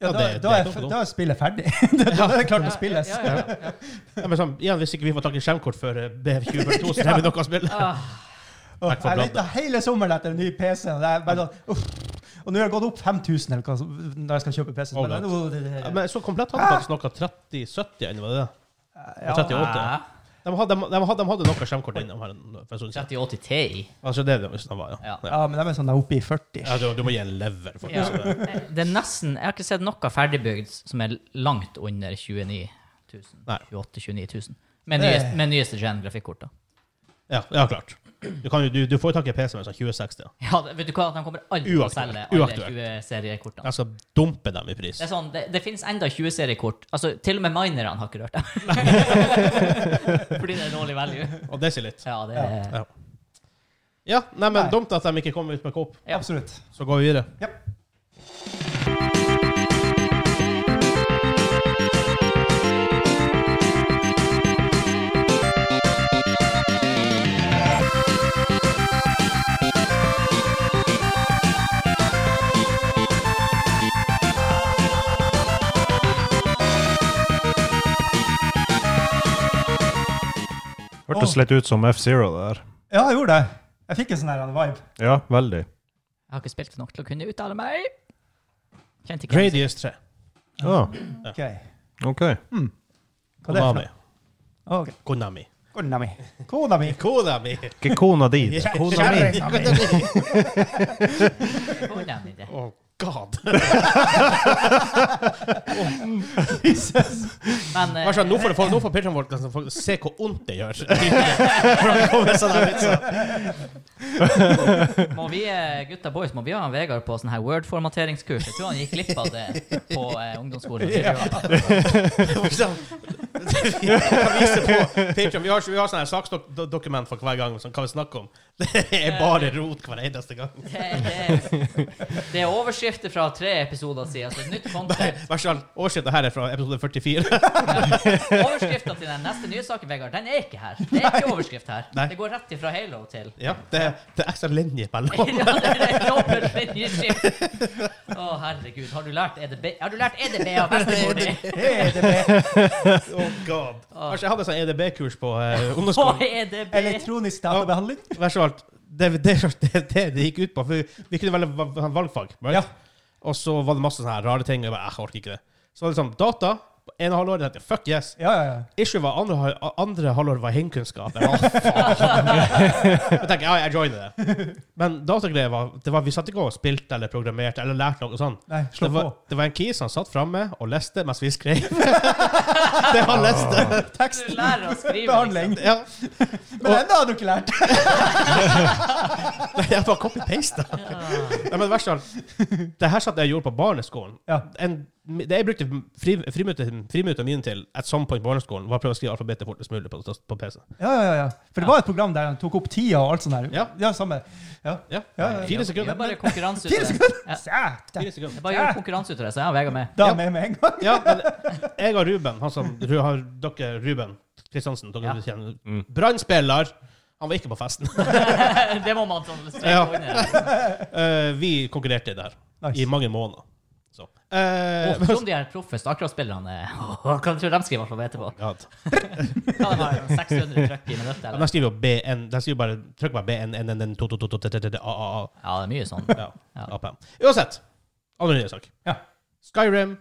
Ja,
Ja, da,
det- det
da,
er
er,
dumt, dumt.
da er spillet ferdig. da, da er det klart å spilles.
Ja, ja, ja, ja.
Ja, men sånn, igjen, hvis ikke vi får tak i skjermkort før eh, BF2042, så har vi noe å spille.
Ah,
Åh,
Takk for
Jeg
bladet.
lette hele sommeren etter en ny PC. Og, det er bare, sånn, uff. og nå har det gått opp 5000 eller hva, som- når jeg skal kjøpe PC.
Oh,
Men,
God.
åh, det- det-
Ja, Men så komplett hadde faktisk noe 3070 ennå, var det det?
ja.
38. De hadde, de, hadde, de hadde noe skjermkort innom her en- for en stund siden.
3080 Ti.
Altså, det er det hvis de var, ja.
Ja.
ja.
ja, men de er sånn de er oppe i 40.
ja du, du må gi en lever,
Ja.
faktisk. Ja.
Eh, Det er nesten Jeg har ikke sett noe ferdigbygd som er langt under 29 000.
Nei.
28 000-29 000. Med, nyest,
Eh.
med nyeste gen grafikkort, da.
Ja, ja, klart. Du, kan, jo- du, du får jo tak i en PC med sånn 2060. Ja.
Ja, det- vet du hva? De kommer aldri til å
Uaktuelt.
selge alle
Uaktuelt.
20-seriekortene.
Jeg skal dumpe dem i pris.
Det er sånn, det, det finnes enda 20 seriekort. Altså, til og med minerne har ikke rørt dem. Fordi det er dårlig value.
Og det sier litt.
Ja, det er...
Ja. Ja, nei, men
Nei.
dumt at de ikke kom ut med Coop.
Ja.
Absolutt.
Så går vi videre.
Ja.
Hørtes litt ut som F-Zero, det der.
ja, jeg gjorde det. Jeg fikk en sånn her vibe.
Ja, veldig.
Jeg har ikke spilt nok til å kunne uttale meg. Kjente ikke den
Gradius 3.
Ja,
Ok.
Ah, OK.
Hva er det for
Konami.
noe? Å, ok.
Konami.
Kona mi. Kona mi.
Konami.
Ikke kona di. det.
Kjerringa mi.
koden i det.
Oh, God.
Men eh,
Bare sånn, nå får, folk- nå får Patreon-folkene som folk se hvor vondt det gjør. For det kommer sånne vitser.
må vi eh, gutta boys, må vi ha en Vegard på sånn her Word-formateringskurs? Jeg tror han gikk glipp av det på eh, ungdomsskolen.
Sånn. Vi kan vise på Patreon. Vi har, vi har sånne her saksdokument for hver gang som kan vi snakke om. Det er bare rot hver eneste gang.
Det, det, det er overskrifter fra tre episoder siden, så et nytt content.
Vær så snill, overskriften her er fra episode 44.
Overskriften til den neste nyhetssaken, Vegard, den er ikke her. Det er ikke overskrift her.
Nei.
Det går rett ifra Halo til
Ja, det, det er ekstra linje
ja,
mellom.
det er dobbelt linjeskift. Å, herregud. Har du lært EDB? Har du lært EDB av bestemor di?
E
EDB.
Oh god. Kanskje jeg hadde sånn EDB-kurs på eh,
På
ungdomsskolen.
EDB?
Elektronisk databehandling.
Vær så snill. Det det er det, det det gikk ut på. For vi kunne velge va- va- valgfag. Right?
Ja.
Og så var det masse sånne her rare ting. Og jeg bare, "Eh, jeg orker ikke det. Så var det sånn data på ene halvåret. tenkte jeg, Fuck yes.
Ja, ja, ja.
Ikke var andre, hal- andre halvår var heimkunnskap. Jeg, var, jeg tenker, ja, jeg joiner det. Men datagreier var, det var Vi satt ikke og spilte eller programmerte eller lærte noe sånn.
Nei,
Det
slå på.
var, det var en kis som satt framme og leste mens vi skrev. det han leste.
Tekst.
Du lærer å
liksom.
skrive.
Behandling.
Ja.
Men ennå har du ikke lært.
Nei, Jeg bare copy-paste.
liksom.
Nei, men verst av alt, det her satt jeg og gjorde på barneskolen.
Ja.
En, det jeg brukte fri- friminuttet friminuttet mine til at some point på barneskolen, var å prøve å skrive alfabetet fortest mulig på, på PC.
Ja, ja, ja, ja. For det var et program der han tok opp tida og alt sånt der.
Ja.
samme. Ja.
Ja.
Ja, ja, ja.
Fire
Vi er
sekunder.
bare konkurranse ut
Fire
av det. Ja.
Sæt!
Fire sekunder.
Jeg bare gjør konkurranse ut av det, så jeg har Vegard med.
Da
Ja.
med med en gang.
Ja, men jeg og Ruben, han som Ru- har dere Ruben Kristiansen, dere
Ja.
kjenner Brannspiller. Han var ikke på festen.
Det må man sånn streke
Ja.
under.
Eh, vi konkurrerte i det her
Nice.
i mange måneder. Så. Eh,
Og Som de her proffe Starcraft-spillerne Hva tror du de skriver alfabetet på?
God.
Hva har de, 600 trykk i minuttet,
De
eller?
skriver jo BN De skriver bare Trykk bare BN1122233AAA.
Ja, det er mye sånn.
Ja.
Ja.
APM. Uansett. Aller nye sak.
Ja.
Skyrim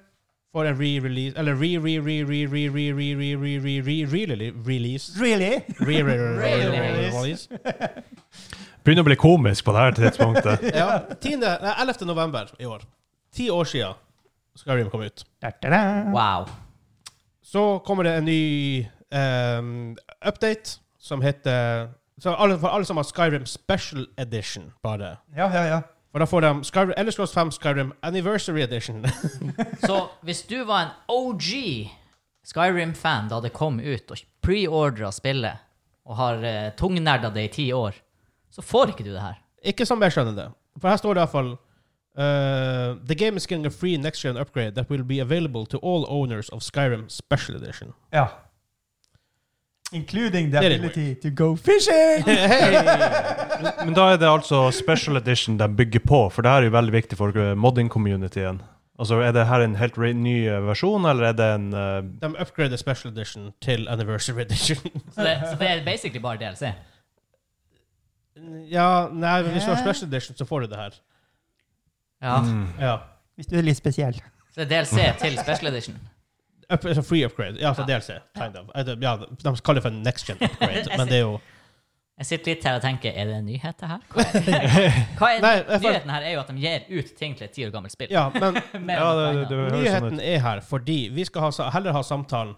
får en re-release Eller re-re-re-re-re-re-re-re-re-re-re-release.
Really?
Re-re-re-release.
Begynner å bli komisk på det her tidspunktet.
Ja. 10. Nei, 11. november i år. Ti år siden Skyrim kom ut.
Da, da, da.
Wow.
Så kommer det en ny ehm, update som heter så alle, For alle som har Skyrim Special Edition, bare.
Ja, ja, ja.
For da får de Skyrim, Elder Scrolls 5 Skyrim Anniversary Edition.
Så hvis du var en OG Skyrim-fan da det kom ut, og preordra spillet, og har eh, tungnerda det i ti år, så får ikke du det her.
Ikke som jeg skjønner det. For her står det iallfall uh, The game is getting a free next gen upgrade that will be available to all owners of Skyrim Special Edition.
ja. Including the
Det er litt
ability to go fishing!
Men da er det altså special edition de bygger på, for det her er jo veldig viktig for eh, modding-communityen. Altså, Er det her en helt re- ny eh, versjon, eller er det en eh,
De upgrader special edition til anniversary edition.
Så det, så det er basically bare DLC.
ja, nei, men hvis du har special edition, så får du det her.
Ja.
mm.
Ja.
Hvis du er litt spesiell.
Så det er DLC til special edition.
Up, altså free upgrade. Ja, for DLC. Kind of. Eh, det- Ja, de kaller det for en next gen upgrade, men det er jo
Jeg sitter litt her og tenker er det en nyhet, det her? Hva er, hva er
Nei, jeg får-
Nyheten her er jo at de gir ut ting til et ti år gammelt spill.
Ja, men
Mer
Ja, det,
enn penger.
det, det høres sånn
nyheten
ut.
er her fordi vi skal ha, heller ha samtalen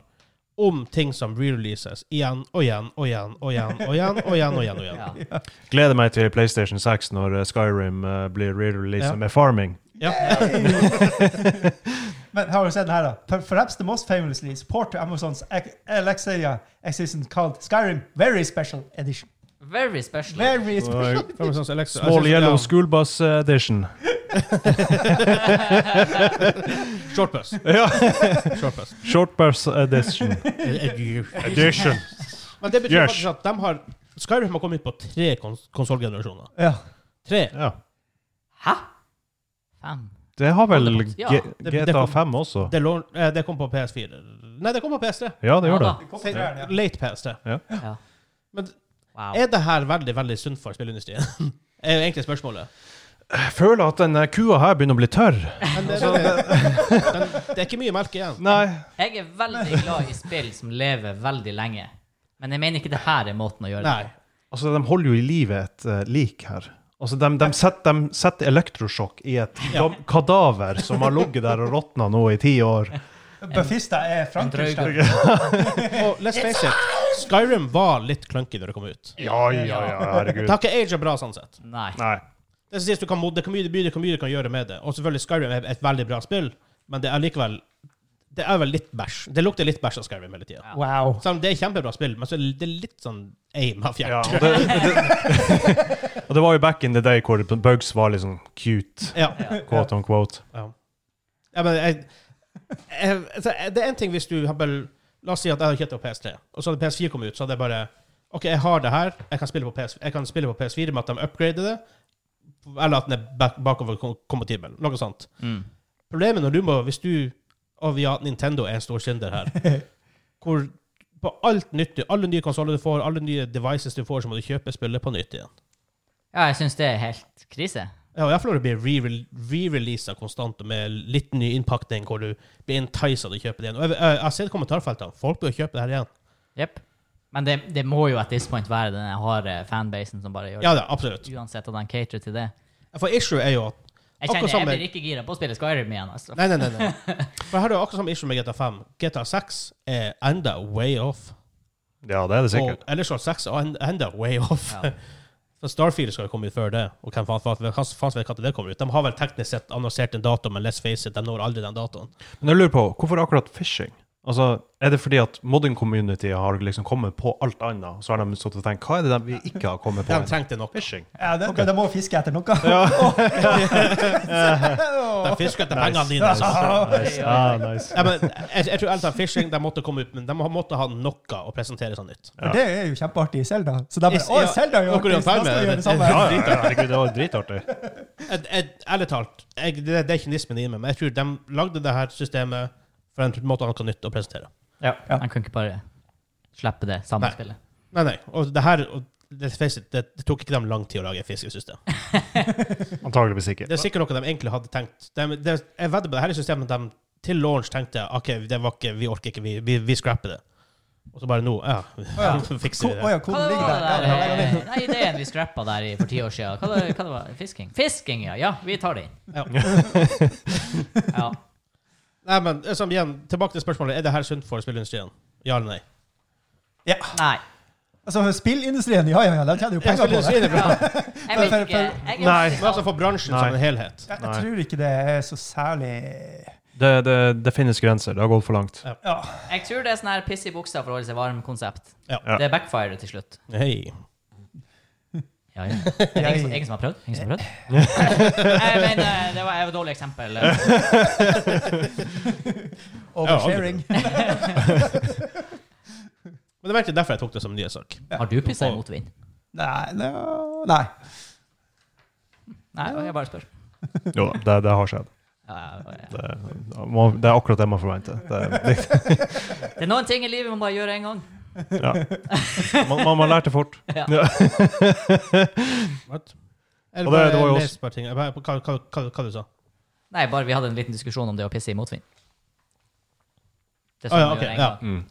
om ting som releases igjen og igjen og igjen og igjen og igjen og igjen. og igjen, og igjen.
Ja.
Gleder meg til PlayStation 6 når eh, Skyrim eh, blir re-releaset
Ja.
med farming.
Ja.
Men har du sett den her, da? Per- Perhaps the most famously support to Amazons Ac- Alexia existence called Skyrim Very Special Edition.
Very special.
Very special.
Og, eh,
For eksempel sånn Alexa- jeg
Small
synes-
Yellow
ja,
School Bus eh, Edition.
Short bus.
Ja.
Short bus.
Short Bus Edition. Edition.
Men det betyr
Yes.
faktisk at de har Skyrim har kommet på tre kons konsollgenerasjoner.
Ja.
Tre.
Ja.
Hæ? Fem?
Det har vel
Holdepunkt, ja.
G-
Det- det
GTA
kom-
5 også.
Det, lå- eh, det kom på PS4. Nei, det kom på PS3.
Ja, det gjør
Ja
det.
da.
Late PS3.
Ja.
Men
Wow.
er det her veldig veldig sunt for spillindustrien? er jo egentlig spørsmålet.
Jeg føler at den eh, kua her begynner å bli tørr.
Men det, det, den, det er ikke mye melk igjen.
Nei.
Jeg er veldig glad i spill som lever veldig lenge. Men jeg mener ikke det her er måten å gjøre det
Nei.
på.
Altså, de holder jo i live et eh, lik her. Altså, de, de, setter, de setter elektrosjokk i et gam- kadaver som har ligget der og råtna nå i ti år.
Bafista er
En drøy
Frankenstein.
gang.
Og let's face it, Skyrim var litt clunky da det kom ut.
Ja, ja, ja, herregud.
Det har ikke age bra, sånn sett.
Nei.
Nei.
Det som sies, du kan modde, det kan mye, mye, mye du kan gjøre med det. Og selvfølgelig, Skyrim er et veldig bra spill, men det er likevel Det er vel litt bæsj. Det lukter litt bæsj av Skyrim hele tida.
Wow.
Selv om det er kjempebra spill, men så er det litt sånn aim av
Ja,
fjert.
og, det, det, og det var jo back in the day hvor bugs var liksom cute,
Ja.
quote on quote.
Ja. ja, men jeg, jeg, altså, Det er en ting hvis du har bare La oss si at jeg hadde kjøpt det på PS3, og så hadde PS4 kommet ut, så hadde jeg bare OK, jeg har det her, jeg kan spille på, PS, jeg kan spille på PS4 med at de upgrader det, eller at den er bak, bakoverkompatibel. Noe sånt.
Mm.
Problemet når du må Hvis du Og ja, Nintendo er en stor synder her. Hvor på alt nytt, du- alle nye konsoller du får, alle nye devices du får, så må du kjøpe spillet på nytt igjen.
Ja, jeg syns det er helt krise.
Ja, og Iallfall når det blir re- re-releasa konstant og med litt ny innpakning, hvor du blir enticed til å kjøpe det igjen. Og jeg, jeg, jeg har sett kommentarfeltene. Folk bør kjøpe det her igjen.
Jepp. Men det, det må jo at this point være den harde fanbasen som bare gjør
Ja, ja, absolutt.
det. Uansett at de caterer til det.
For issue er jo at
Jeg
Akkurat
kjenner,
samme-
jeg blir ikke gira på å spille Skyrim igjen. altså.
Nei, nei, nei. nei. For her er det akkurat samme issue med GTA 5. GTA 6 er enda way off.
Ja, det er
Og
det sikkert.
Ellers 6 er en- enda way off.
Ja.
For Starfield skal jo komme ut før det, og hvem faen faen- hvem faen vet når det kommer ut? De har vel teknisk sett annonsert en dato, men let's face it, de når aldri den datoen.
Men jeg lurer på, hvorfor akkurat phishing? Altså, Er det fordi at modern community har liksom kommet på alt annet, og så har de stått og tenkt hva er det de vi ikke har kommet på?
De trengte nok.
Phishing.
Ja, de, de må fiske etter noe.
De fisker etter pengene dine.
Nice. Ah, nice.
Ja, men jeg, jeg tror alt av phishing de måtte komme ut, men de måtte ha noe å presentere sånn nytt.
For det er jo kjempeartig i Selda. Så de bare
Is-
Å,
ja,
Selda er jo
akkurat
artig, så da skal vi gjøre det samme.
Ja, ja, ja, herregud, det var dritartig.
Jeg, jeg, ærlig talt, jeg, det, det er ikke nismen i meg, men jeg tror de lagde det her systemet for en måte å ha noe nytt å presentere.
Ja. De kan ikke bare slippe det samme
Nei.
spillet.
Nei, nei. Og det her og let's face it, det, det tok ikke dem lang tid å lage et fiskesystem.
Antageligvis ikke.
Det er sikkert noe de egentlig hadde tenkt. De, det, jeg vedder på det her er systemet de til launch tenkte OK, det var ikke, vi orker ikke, vi, vi, vi scrapper det. Og så bare nå, ja,
ja.
fikser
Ko-
vi
Å
det.
Hva
ja,
det
koden ligger
var
der. Ja,
det
ja, ja,
der?
ja.
eh, Nei, ideen vi scrappa der i, for ti år siden. Hva, det- hva det var det? Fisking? Fisking, ja. Ja, vi tar den.
Ja.
Ja.
Nei, men eh, som igjen, tilbake til spørsmålet. Er det her sunt for spillindustrien? Ja eller nei?
Ja.
Nei.
Altså, spillindustrien, ja, ja, ja, de tjener jo penger på det.
Spillindustrien er bra.
Jeg vet ikke. Jeg er
Nei.
Men altså for bransjen
Nei.
som en helhet.
Jeg
Nei.
jeg tror ikke det er så særlig
Det, det, det finnes grenser. Det har gått for langt.
Ja.
Jeg tror det er sånn her piss i buksa for å holde seg varm-konsept.
Ja.
Ja.
Det backfirer til slutt.
Hei.
Ja, ja. Det er Ingen, som- ingen som har prøvd? Ingen som har prøvd? Jeg mener, det var jeg var et dårlig eksempel.
Oversharing.
Men det var egentlig derfor jeg tok det som nyhetssak.
Har du pissa i motvind?
Nei, nei, nei.
Nei, jeg bare spør.
Jo da, det, det har skjedd.
Ja, ja, ja.
Det, man, det er akkurat det man forventer. Det, det,
Det er noen ting i livet man bare gjør én gang.
ja. man, man, man lærte fort.
Ja.
What? Eller
Og det-
bare
det var jo
les
også-
bare ting. Jeg bare- Hva, hva, hva, hva du sa
Nei, bare vi hadde en liten diskusjon om det å pisse i motvind. Det
Å
som,
ja,
man
ok,
gjør en
ja.
gang.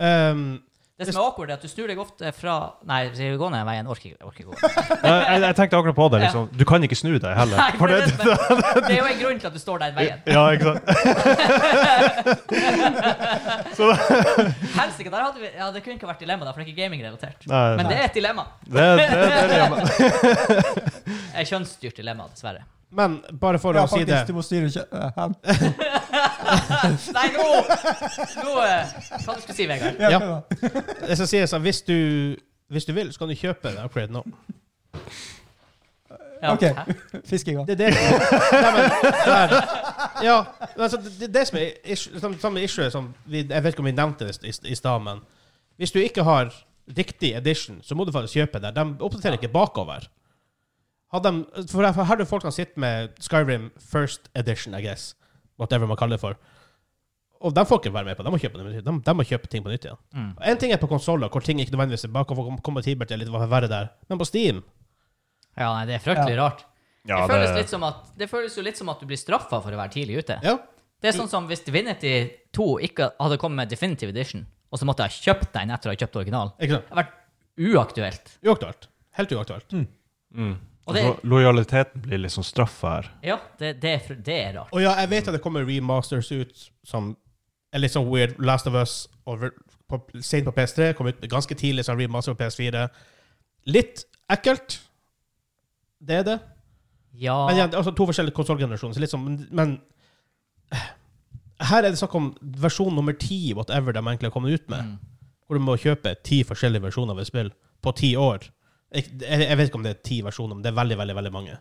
Ehm,
det som er awkward, er at du snur deg ofte fra Nei, skal vi gå ned veien? Orker ikke. Orker ikke gå.
Jeg, jeg, jeg tenkte akkurat på det. liksom. Du kan ikke snu deg heller.
Nei,
For
men
det,
det, men, det er jo en grunn til at du står der i veien.
ja, ikke sant?
Helsike, der hadde vi, ja, det kunne ikke vært dilemma, da, for det er ikke gaming-relatert.
Nei,
Men
nei.
det er et dilemma.
Det, det, det, det,
Et kjønnsstyrt dilemma, dessverre.
men bare for
Ja,
å si
faktisk, du
det
må styre kjø... eh, hen.
Nei, nå Nå eh, Hva du skulle si, Vegard?
Ja,
Ja.
kom da.
Jeg skal si det sånn, hvis du, hvis du vil, så kan du kjøpe det upgrade nå.
Ja,
Ok.
hæ?
Fiskinga.
Det er det Nei, men, der. Ja, altså, det, det som er issue, som, som issue som vi, Jeg vet ikke om vi nevnte det i, i stad, men hvis du ikke har riktig edition, så må du faktisk kjøpe det. De oppdaterer ikke bakover. Har de, for her- her er det folk som sitter med Skyrim first edition, I guess. Whatever man kaller det for. Og de får ikke være med på det. De må kjøpe, det. de, de må kjøpe ting på nytt igjen.
Mm.
Og En ting er på konsoller, hvor ting ikke nødvendigvis er bakover kompatibelt, eller hva verre der. Men på Steam
Ja, nei, det er fryktelig rart.
ja,
det, føles litt sånn- som at, det føles jo litt som at du blir straffa for å være tidlig ute.
Ja.
Det er sånn som hvis Divinity 2 ikke hadde kommet med Definitive Edition, og så måtte jeg ha kjøpt den etter å ha kjøpt originalen.
Ikke sant?
Det hadde vært uaktuelt.
Uaktuelt. Helt uaktuelt.
mm.
Og det,
Altså-
Så Lojaliteten blir liksom straffa her.
ja, det, det, er, fr- det er rart.
Og ja, jeg vet at det kommer remasters ut som er litt sånn weird. Last of Us over, på, sent på PS3 kom ut ganske tidlig som remaster på PS4. Litt ekkelt. Det er det.
Ja,
Men igjen, det er altså to forskjellige konsollgenerasjoner. så litt sånn, Men, men her er det snakk om versjon nummer ti, whatever de egentlig har kommet ut med. Hvor du må kjøpe ti forskjellige versjoner av et spill på ti år. Jeg, jeg, jeg vet ikke om det er ti versjoner, men det er veldig, veldig veldig mange.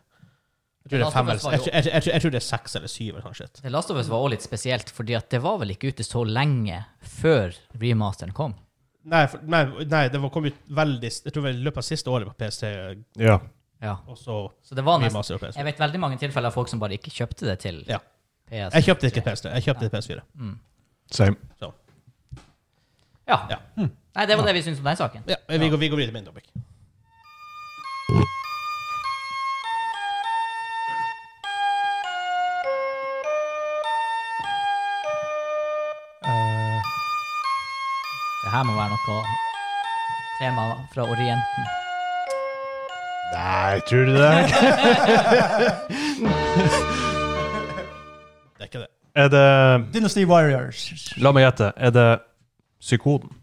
Jeg tror det er
Last of
fem
Us
eller,
var
jeg,
jo-
tror- jeg, jeg, tror- jeg tror det er seks eller syv. eller sånn shit.
The Last of Us var også litt spesielt, fordi at det var vel ikke ute så lenge før remasteren kom.
Nei, for, nei, nei, det var kom ut veldig Jeg tror det var i løpet av siste året på PC,
Ja.
Ja,
og så
så det var nesten...
remaster på PS4.
Jeg vet veldig mange tilfeller av folk som bare ikke kjøpte det til
Ja.
PS.
Jeg kjøpte ikke PS3, jeg kjøpte PS4.
Same.
Ja.
Ja.
Nei, det var det vi syntes om den saken.
Ja, men vi går, vi går videre til min topic.
Eh,
Det her må være noe tema fra Orienten.
Nei, tror du det?
Det er ikke det.
Er det
Dynasty Warriors.
La meg gjette. Er det psykoden?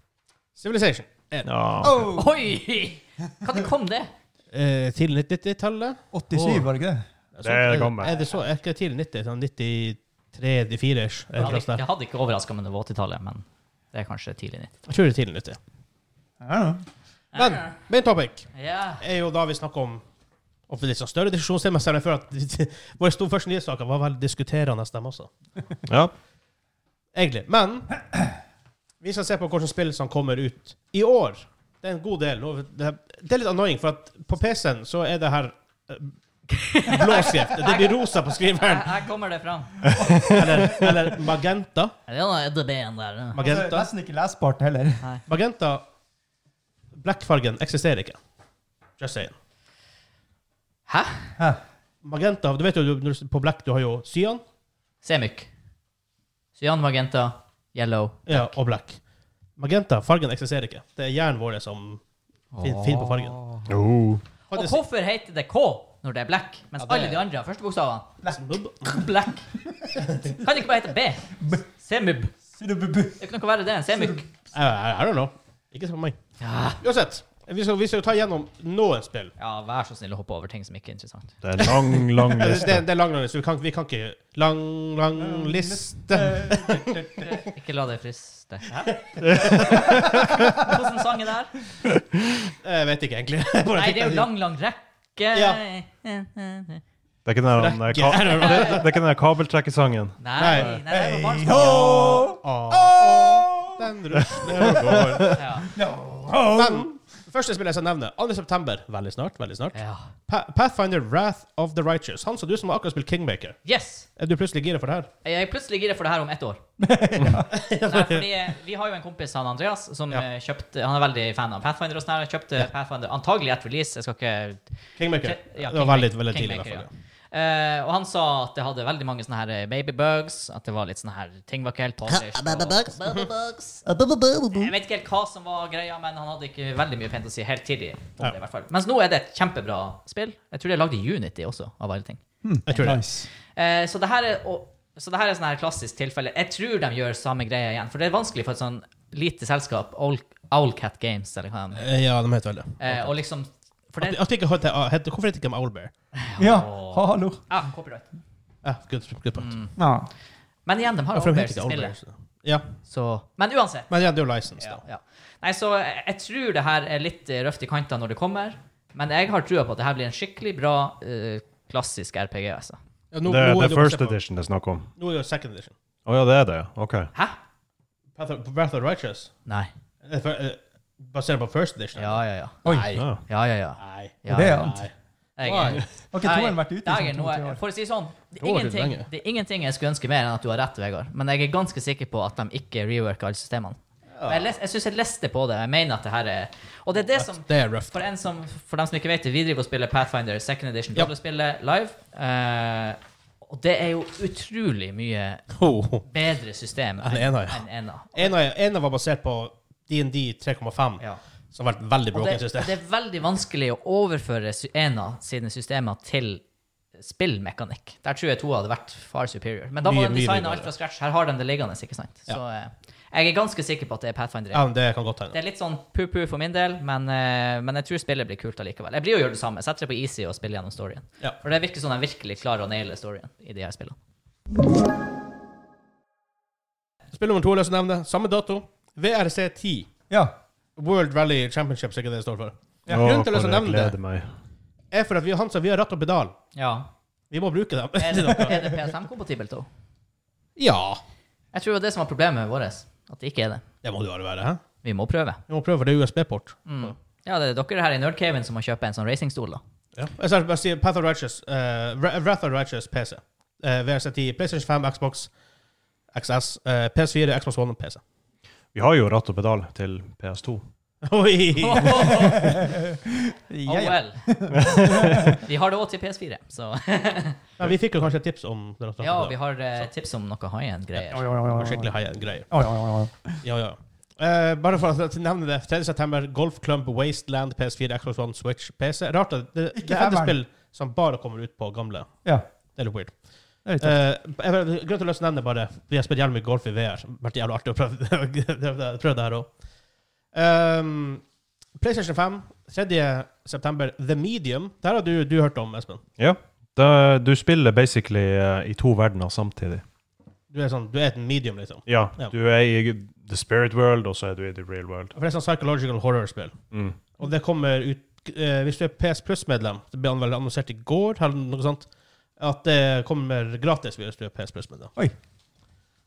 Civilization. En.
Ja.
Oh,
Oi! Når kom det?
Eh, tidlig 90-tallet.
87, var det ikke det?
Sånn,
Det er det gamle.
Er det så? Er ikke tidlig 90? Sånn 93-94-ish?
Jeg hadde, ikke-
Jeg
jeg hadde ikke overraska med det var 80-tallet, men det er kanskje tidlig 90.
tror det er tidlig 90.
I don't know.
Men min topic
Ja.
er jo da vi snakker om og for litt sånn større diskusjonstema, selv om jeg føler at våre to første nyhetssaker var veldig diskuterende, dem også.
ja.
Egentlig. Men vi skal se på hvilke spill som kommer ut i år. Det er en god del. og Det er- det er litt annoying, for at på PC-en så er det her eh, blå skrift. Det blir rosa på
Her,
skriveren.
her kommer det fram.
Eller, eller magenta.
Det er noe edderben der.
Altså, det er
Magenta.
nesten ikke lesbart heller.
Magenta Blackfargen eksisterer ikke. Just saying.
Hæ?
Hæ?
Magenta, du vet jo du- når du- på black du har jo cyan
Semyk. Cyan, magenta, yellow.
ja, og black. Magenta, fargen eksisterer ikke. Det er hjernen vår som finner fin på fargen.
Oh.
Og hvorfor heter det K når det er black, mens
Ja, det-
alle de andre har første bokstavene?
Faktisk-
Black. Kan det ikke bare hete B? Semub. Det
Sirububu.
er ikke noe verre det enn semyk.
I, I, I don't know. Ikke som meg.
Ja.
Uansett, vi skal, vi skal jo ta gjennom noen spill.
ja, vær så snill å hoppe over ting som ikke er interessant.
Det er en lang, lang
Eh, Det, det,
liste.
det er lang, lang liste. Vi kan, vi kan ikke Lang, lang liste.
Ikke la deg friste. Hæ? Hvordan sang er det her?
Jeg vet ikke, egentlig.
Nei, det er jo lang, lang rekke.
Ja.
Det er ikke den der, han, eh, ka
Rekke.
det, det er ikke den der kabeltrekkesangen.
Nei, nei, det var barnsang.
Hei, ho!
Ah.
Åh!
Den rusler og går.
Ja.
Men første spillet jeg skal nevne, 2. september. Veldig snart. veldig snart.
ja.
Pa Pathfinder Wrath of the Righteous. Han som du som har akkurat spilt Kingmaker.
Yes!
Er du plutselig gira for det her?
Jeg er plutselig gira for det her om ett år. Nei, fordi eh, Vi har jo en kompis, han Andreas, som
Ja.
eh, kjøpte Han er veldig fan av Pathfinder. og sånn her. Kjøpte Pathfinder antagelig etter release. Jeg skal ikke
Kingmaker.
Ja,
det var veldig,
Kingmaker-
veldig tidlig. i hvert
Kingmaker,
fall.
ja. Eh, og han sa at det hadde veldig mange sånne her eh, babybugs. At det var litt sånne her ting var ikke helt polished. og-
Mm.
Jeg vet ikke helt hva som var greia, men han hadde ikke veldig mye pent å si helt tidlig. om
Ja.
det i hvert fall. Mens nå er det et kjempebra spill. Jeg tror det er lagd i Unity også, av alle ting.
Jeg tror det.
Nice.
Eh, så det her er og, så det her er sånn her klassisk tilfelle. Jeg tror de gjør samme greia igjen, for det er vanskelig for et sånn lite selskap, Owl- Owlcat Games, eller hva de
Eh, Ja, de heter vel det.
eh, Og liksom For
At,
det
at de ikke heter, heter, hvorfor heter de ikke Owlbear?
Ja, hallo.
Ja, copyright.
Ja, good, good point.
Ja.
Men igjen, de har
Ja, for de heter
Mm. Owlbears i
ikke Owlbear.
spillet,
så- Ja,
så Men uansett.
men ja, det er jo license,
Ja,
da.
ja. Nei, så jeg, jeg tror det her er litt eh, røft i kantene når det kommer, men jeg har trua på at det her blir en skikkelig bra eh, klassisk RPG, altså.
Ja, nå,
Det
nå
det
er
er
jo
first
basert på-
edition det er snakk om.
Nå er det second edition.
Å ja, det er det, ja. OK.
Hæ?
Path of, Wrath of the Righteous.
Nei.
Eh, for- eh, Basert på first edition?
Ja, ja, ja.
Oi.
Nei.
Ja.
Ja, ja, ja.
Nei.
ja.
Det er
ja.
han.
Nei.
Jeg,
Har ikke toeren vært ute
Dagen,
i sånn
nå er-
to-tre år?
For å si sånn, det
To
er,
år er
ingenting,
lenge.
det er ingenting jeg skulle ønske mer enn at du har rett, Vegard. Men jeg er ganske sikker på at de ikke reworker alle systemene. Og Jeg, les, jeg syns jeg leste på det. Jeg mener at det her er Og det er det som
Det er røft.
For, en som, for dem som ikke vet det, vi driver og spiller Pathfinder second edition
Ja.
rollespillet live. Eh, og det er jo utrolig mye
Oh.
bedre system
Enn ena, ja.
enn ena.
En av, en av var basert på DND 3,5,
Ja.
som har vært veldig
Og
broken
det,
system.
det er veldig vanskelig å overføre sy- ena sine systemer til spillmekanikk. Der tror jeg to hadde vært far superior. Men da må
Mye,
de
mye
designe
mye
alt fra scratch. Her har de det liggende, ikke sant? Så eh, jeg er ganske sikker på at det er Pathfinder.
Ja, men det kan godt hende.
Det er litt sånn pu-pu for min del, men, eh, men jeg tror spillet blir kult allikevel. Jeg blir jo å gjøre det samme. Jeg Setter det på easy og spiller gjennom storyen.
Ja.
For det virker som de virkelig klarer å naile storyen i de her spillene.
Spill nummer to er løs å nevne. Samme dato. VRC10.
Ja.
World Rally Championship, så ikke det det står for.
Ja.
Å,
Grunnen til å
for jeg
nevne det-
gleder meg.
Er for at vi, han sa vi har ratt og pedal.
Ja.
Vi må bruke dem.
Er det, er det PSM-kompatibelt òg?
ja.
Jeg tror det var det som var problemet vårt. At det ikke er det.
Det må det jo være, hæ?
Vi må prøve.
Vi må prøve, for det er USB-port.
Mm. Ja, det er dere her i Nerdcaven som må kjøpe en sånn racingstol, da.
Ja. Jeg skal bare si Path of Righteous, eh, Wra- Wrath of Righteous PC. Eh, VRC10, PlayStation 5, Xbox, XS, eh, PS4, Xbox One og PC.
Vi har jo ratt og pedal til PS2.
Oi!
Oh
Ja, ja.
well. Vi har det òg til PS4, så
Ja, vi fikk jo kanskje et tips om det. ratt og
Ja,
pedal.
vi har eh, tips om noe high end-greier.
Oi, oi, oi, oi.
Skikkelig high greier.
Oi, oi, oi, oi.
Ja, ja. Eh, bare for å nevne det. 3. september, Golf Club, Wasteland, PS4, Xbox One, Switch, PC. Rart at det, det,
Ikke
er et
femmeren.
spill som bare kommer ut på gamle.
Ja.
Det er litt weird.
Det er litt tøft.
Eh, jeg vil- Grunn til å løse nevne bare Vi har spilt jævlig mye golf i VR. Det har vært jævlig artig å prøve, prøve det her òg. Um, PlayStation 5, 3. september, The Medium. Det her har du, du hørt om, Espen.
Ja. Da, du spiller basically eh, i to verdener samtidig.
Du er, sånn, du er et medium, liksom.
Ja.
Ja.
Du er i the spirit world, og så er du i the real world.
For det er sånn psychological horror-spill.
Mm.
Og det kommer ut eh, Hvis du er PS Plus-medlem, det ble vel annonsert i går, eller noe sånt, at det kommer gratis hvis du er PS Plus-medlem.
Oi.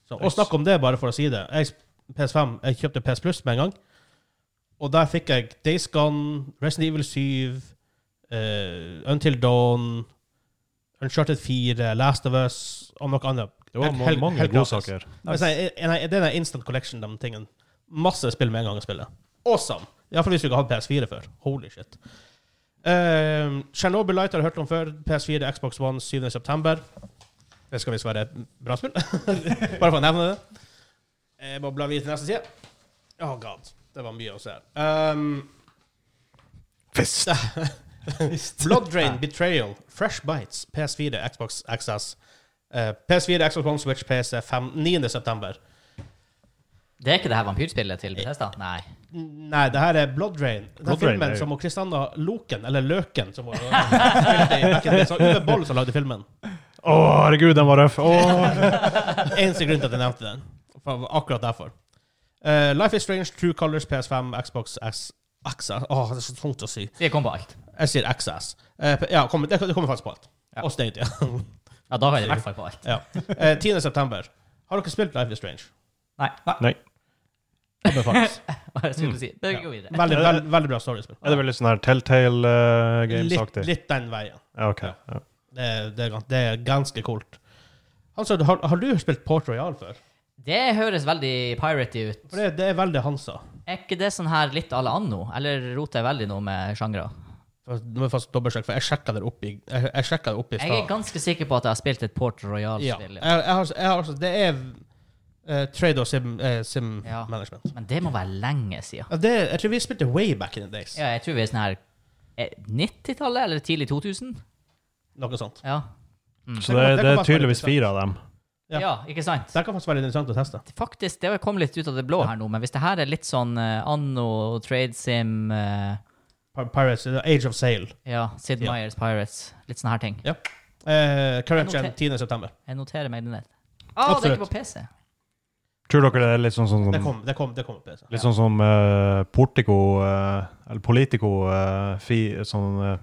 Så, og snakk om det, bare for å si det. Jeg, PS5, jeg kjøpte PS Plus med en gang, og der fikk jeg Days Gone, Resident Evil 7, eh, Until Dawn, Uncharted 4, Last of Us og noe annet.
Det var
Helt-
ma-
helt-
mange
helt
gode
gratis.
saker.
Nice. Nei, nei, det er den instant collection, de tingene. Masse spill med en gang å spille. Awesome! Iallfall hvis du ikke har hatt PS4 før. Holy shit. Uh, Chernobyl Light har jeg hørt om før. PS4, Xbox One, 7. september. Det skal visst være et bra spill. Bare for å nevne det. Jeg må bla videre til neste side. Oh god. Det var mye å se her. Um,
Fist!
Blood Drain, Betrayal, Fresh Bites, PS4, Xbox XS. eh, PS4, Xbox One, Switch, PC 5, 9. september.
Det er ikke det her vampyrspillet til Bethesda? Nei.
Nei, det her er Blood Rain. Den
Blood Rain
filmen
er jo-
som hun Kristanna Loken, eller Løken, som hun spilte i back in the days. Så Uwe Boll som lagde filmen.
Å, herregud, den var røff! Åh.
Eneste grunn til at jeg nevnte den. For akkurat derfor. Eh, Life is Strange, True Colors, PS5, Xbox S XS Åh, det er så tungt å si.
Så jeg kom på alt.
Jeg sier XS. Eh, p- ja, kommer- det, det kommer faktisk på alt.
Ja.
Og Stadia.
Ja, da har jeg i hvert fall på alt.
ja. Eh, 10. september. Har dere spilt Life is Strange?
Nei.
Nei.
Anbefales.
Hva er det jeg
Mm.
skulle si? Bare gå videre.
Veldig, veld, veldig bra storiespill.
Er det veldig sånn her Telltale-games-aktig?
Litt, litt den veien.
Ja, ok. Ja.
Det, er- det, er gans- det er ganske kult. Altså, har, har du spilt Port Royal før?
Det høres veldig piratey ut.
For det, det er veldig Hansa.
Er ikke det sånn her litt à la anno? Eller roter jeg veldig nå med sjangre?
For- Nå må jeg faktisk dobbeltsjekke, for jeg sjekka det opp i jeg, jeg sjekket det opp i
Jeg er
stad.
ganske sikker på at jeg har spilt et Port
Ja.
Royal-spill.
Jeg,
Ja.
jeg har, jeg har, altså, det er eh, trade og sim, eh, sim
Ja.
management.
Men det må være lenge siden.
Ja, det, jeg tror vi spilte way back in the days.
Ja, jeg tror vi er sånn her eh, 90-tallet eller tidlig 2000.
Noe sånt.
Ja.
Så det,
Det
er-
kan
det
bare
er tydeligvis
være litt
fire av dem.
Ja.
ja. ikke sant?
Det kan faktisk være interessant å teste.
Faktisk, det kom litt ut av det blå her nå, men hvis det her er litt sånn eh, anno, trade sim, eh,
Pir- Pirates, eh, Age of Sail.
ja, Sid
Ja.
Meyers Pirates, litt sånne her ting.
Ja. Eh, Corruption
Jeg
10. september.
Jeg noterer meg det ned. Ah, det er ikke på PC.
Tror dere det er litt sånn som
Det kom, det kom, det kom på PC.
Litt sånn som eh, Portico eh, Eller Politico eh, fi, sånn, eh,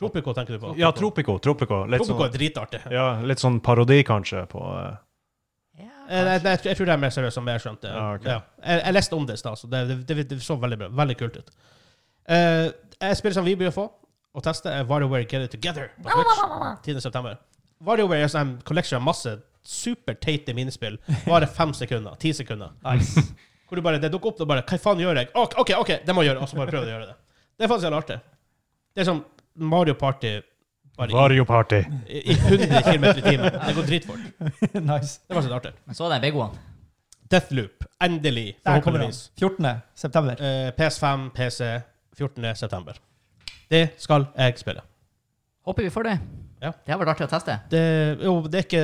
Tropico tenker du på?
Ja, Tropico. Tropico. Litt
Tropico
sånn,
er dritartig.
ja, litt sånn parodi, kanskje, på eh,
Eh,
Ja,
nei, nei, Jeg, tror- jeg tror det er mer seriøst, som jeg skjønte.
Ja, ok.
ja. jeg, jeg leste om det i stad, så det, det, det, det så veldig bra. Veldig kult ut. Eh, jeg spiller som vi bør få, og teste er WarioWare Get It Together på Twitch 10. september. WarioWare er sånn en collection av masse superteite minispill. Bare fem sekunder. Ti sekunder. Hvor du bare, det dukker opp og bare Hva faen gjør jeg? OK, OK, ok, det må jeg gjøre. Og så bare prøver du å gjøre det. Det er faktisk jævlig artig. Det er som Mario Party bare i,
Vario Party.
i, i 100 km i timen. Det går dritfort.
nice.
Det var sånn artig.
men så er det en big one.
Deathloop. Endelig,
Der kommer den.
forhåpentligvis.
14. september.
Eh, PS5, PC, 14. september. Det skal jeg spille.
Håper vi får det.
Ja.
Det har vært artig å teste.
Det, jo, det er ikke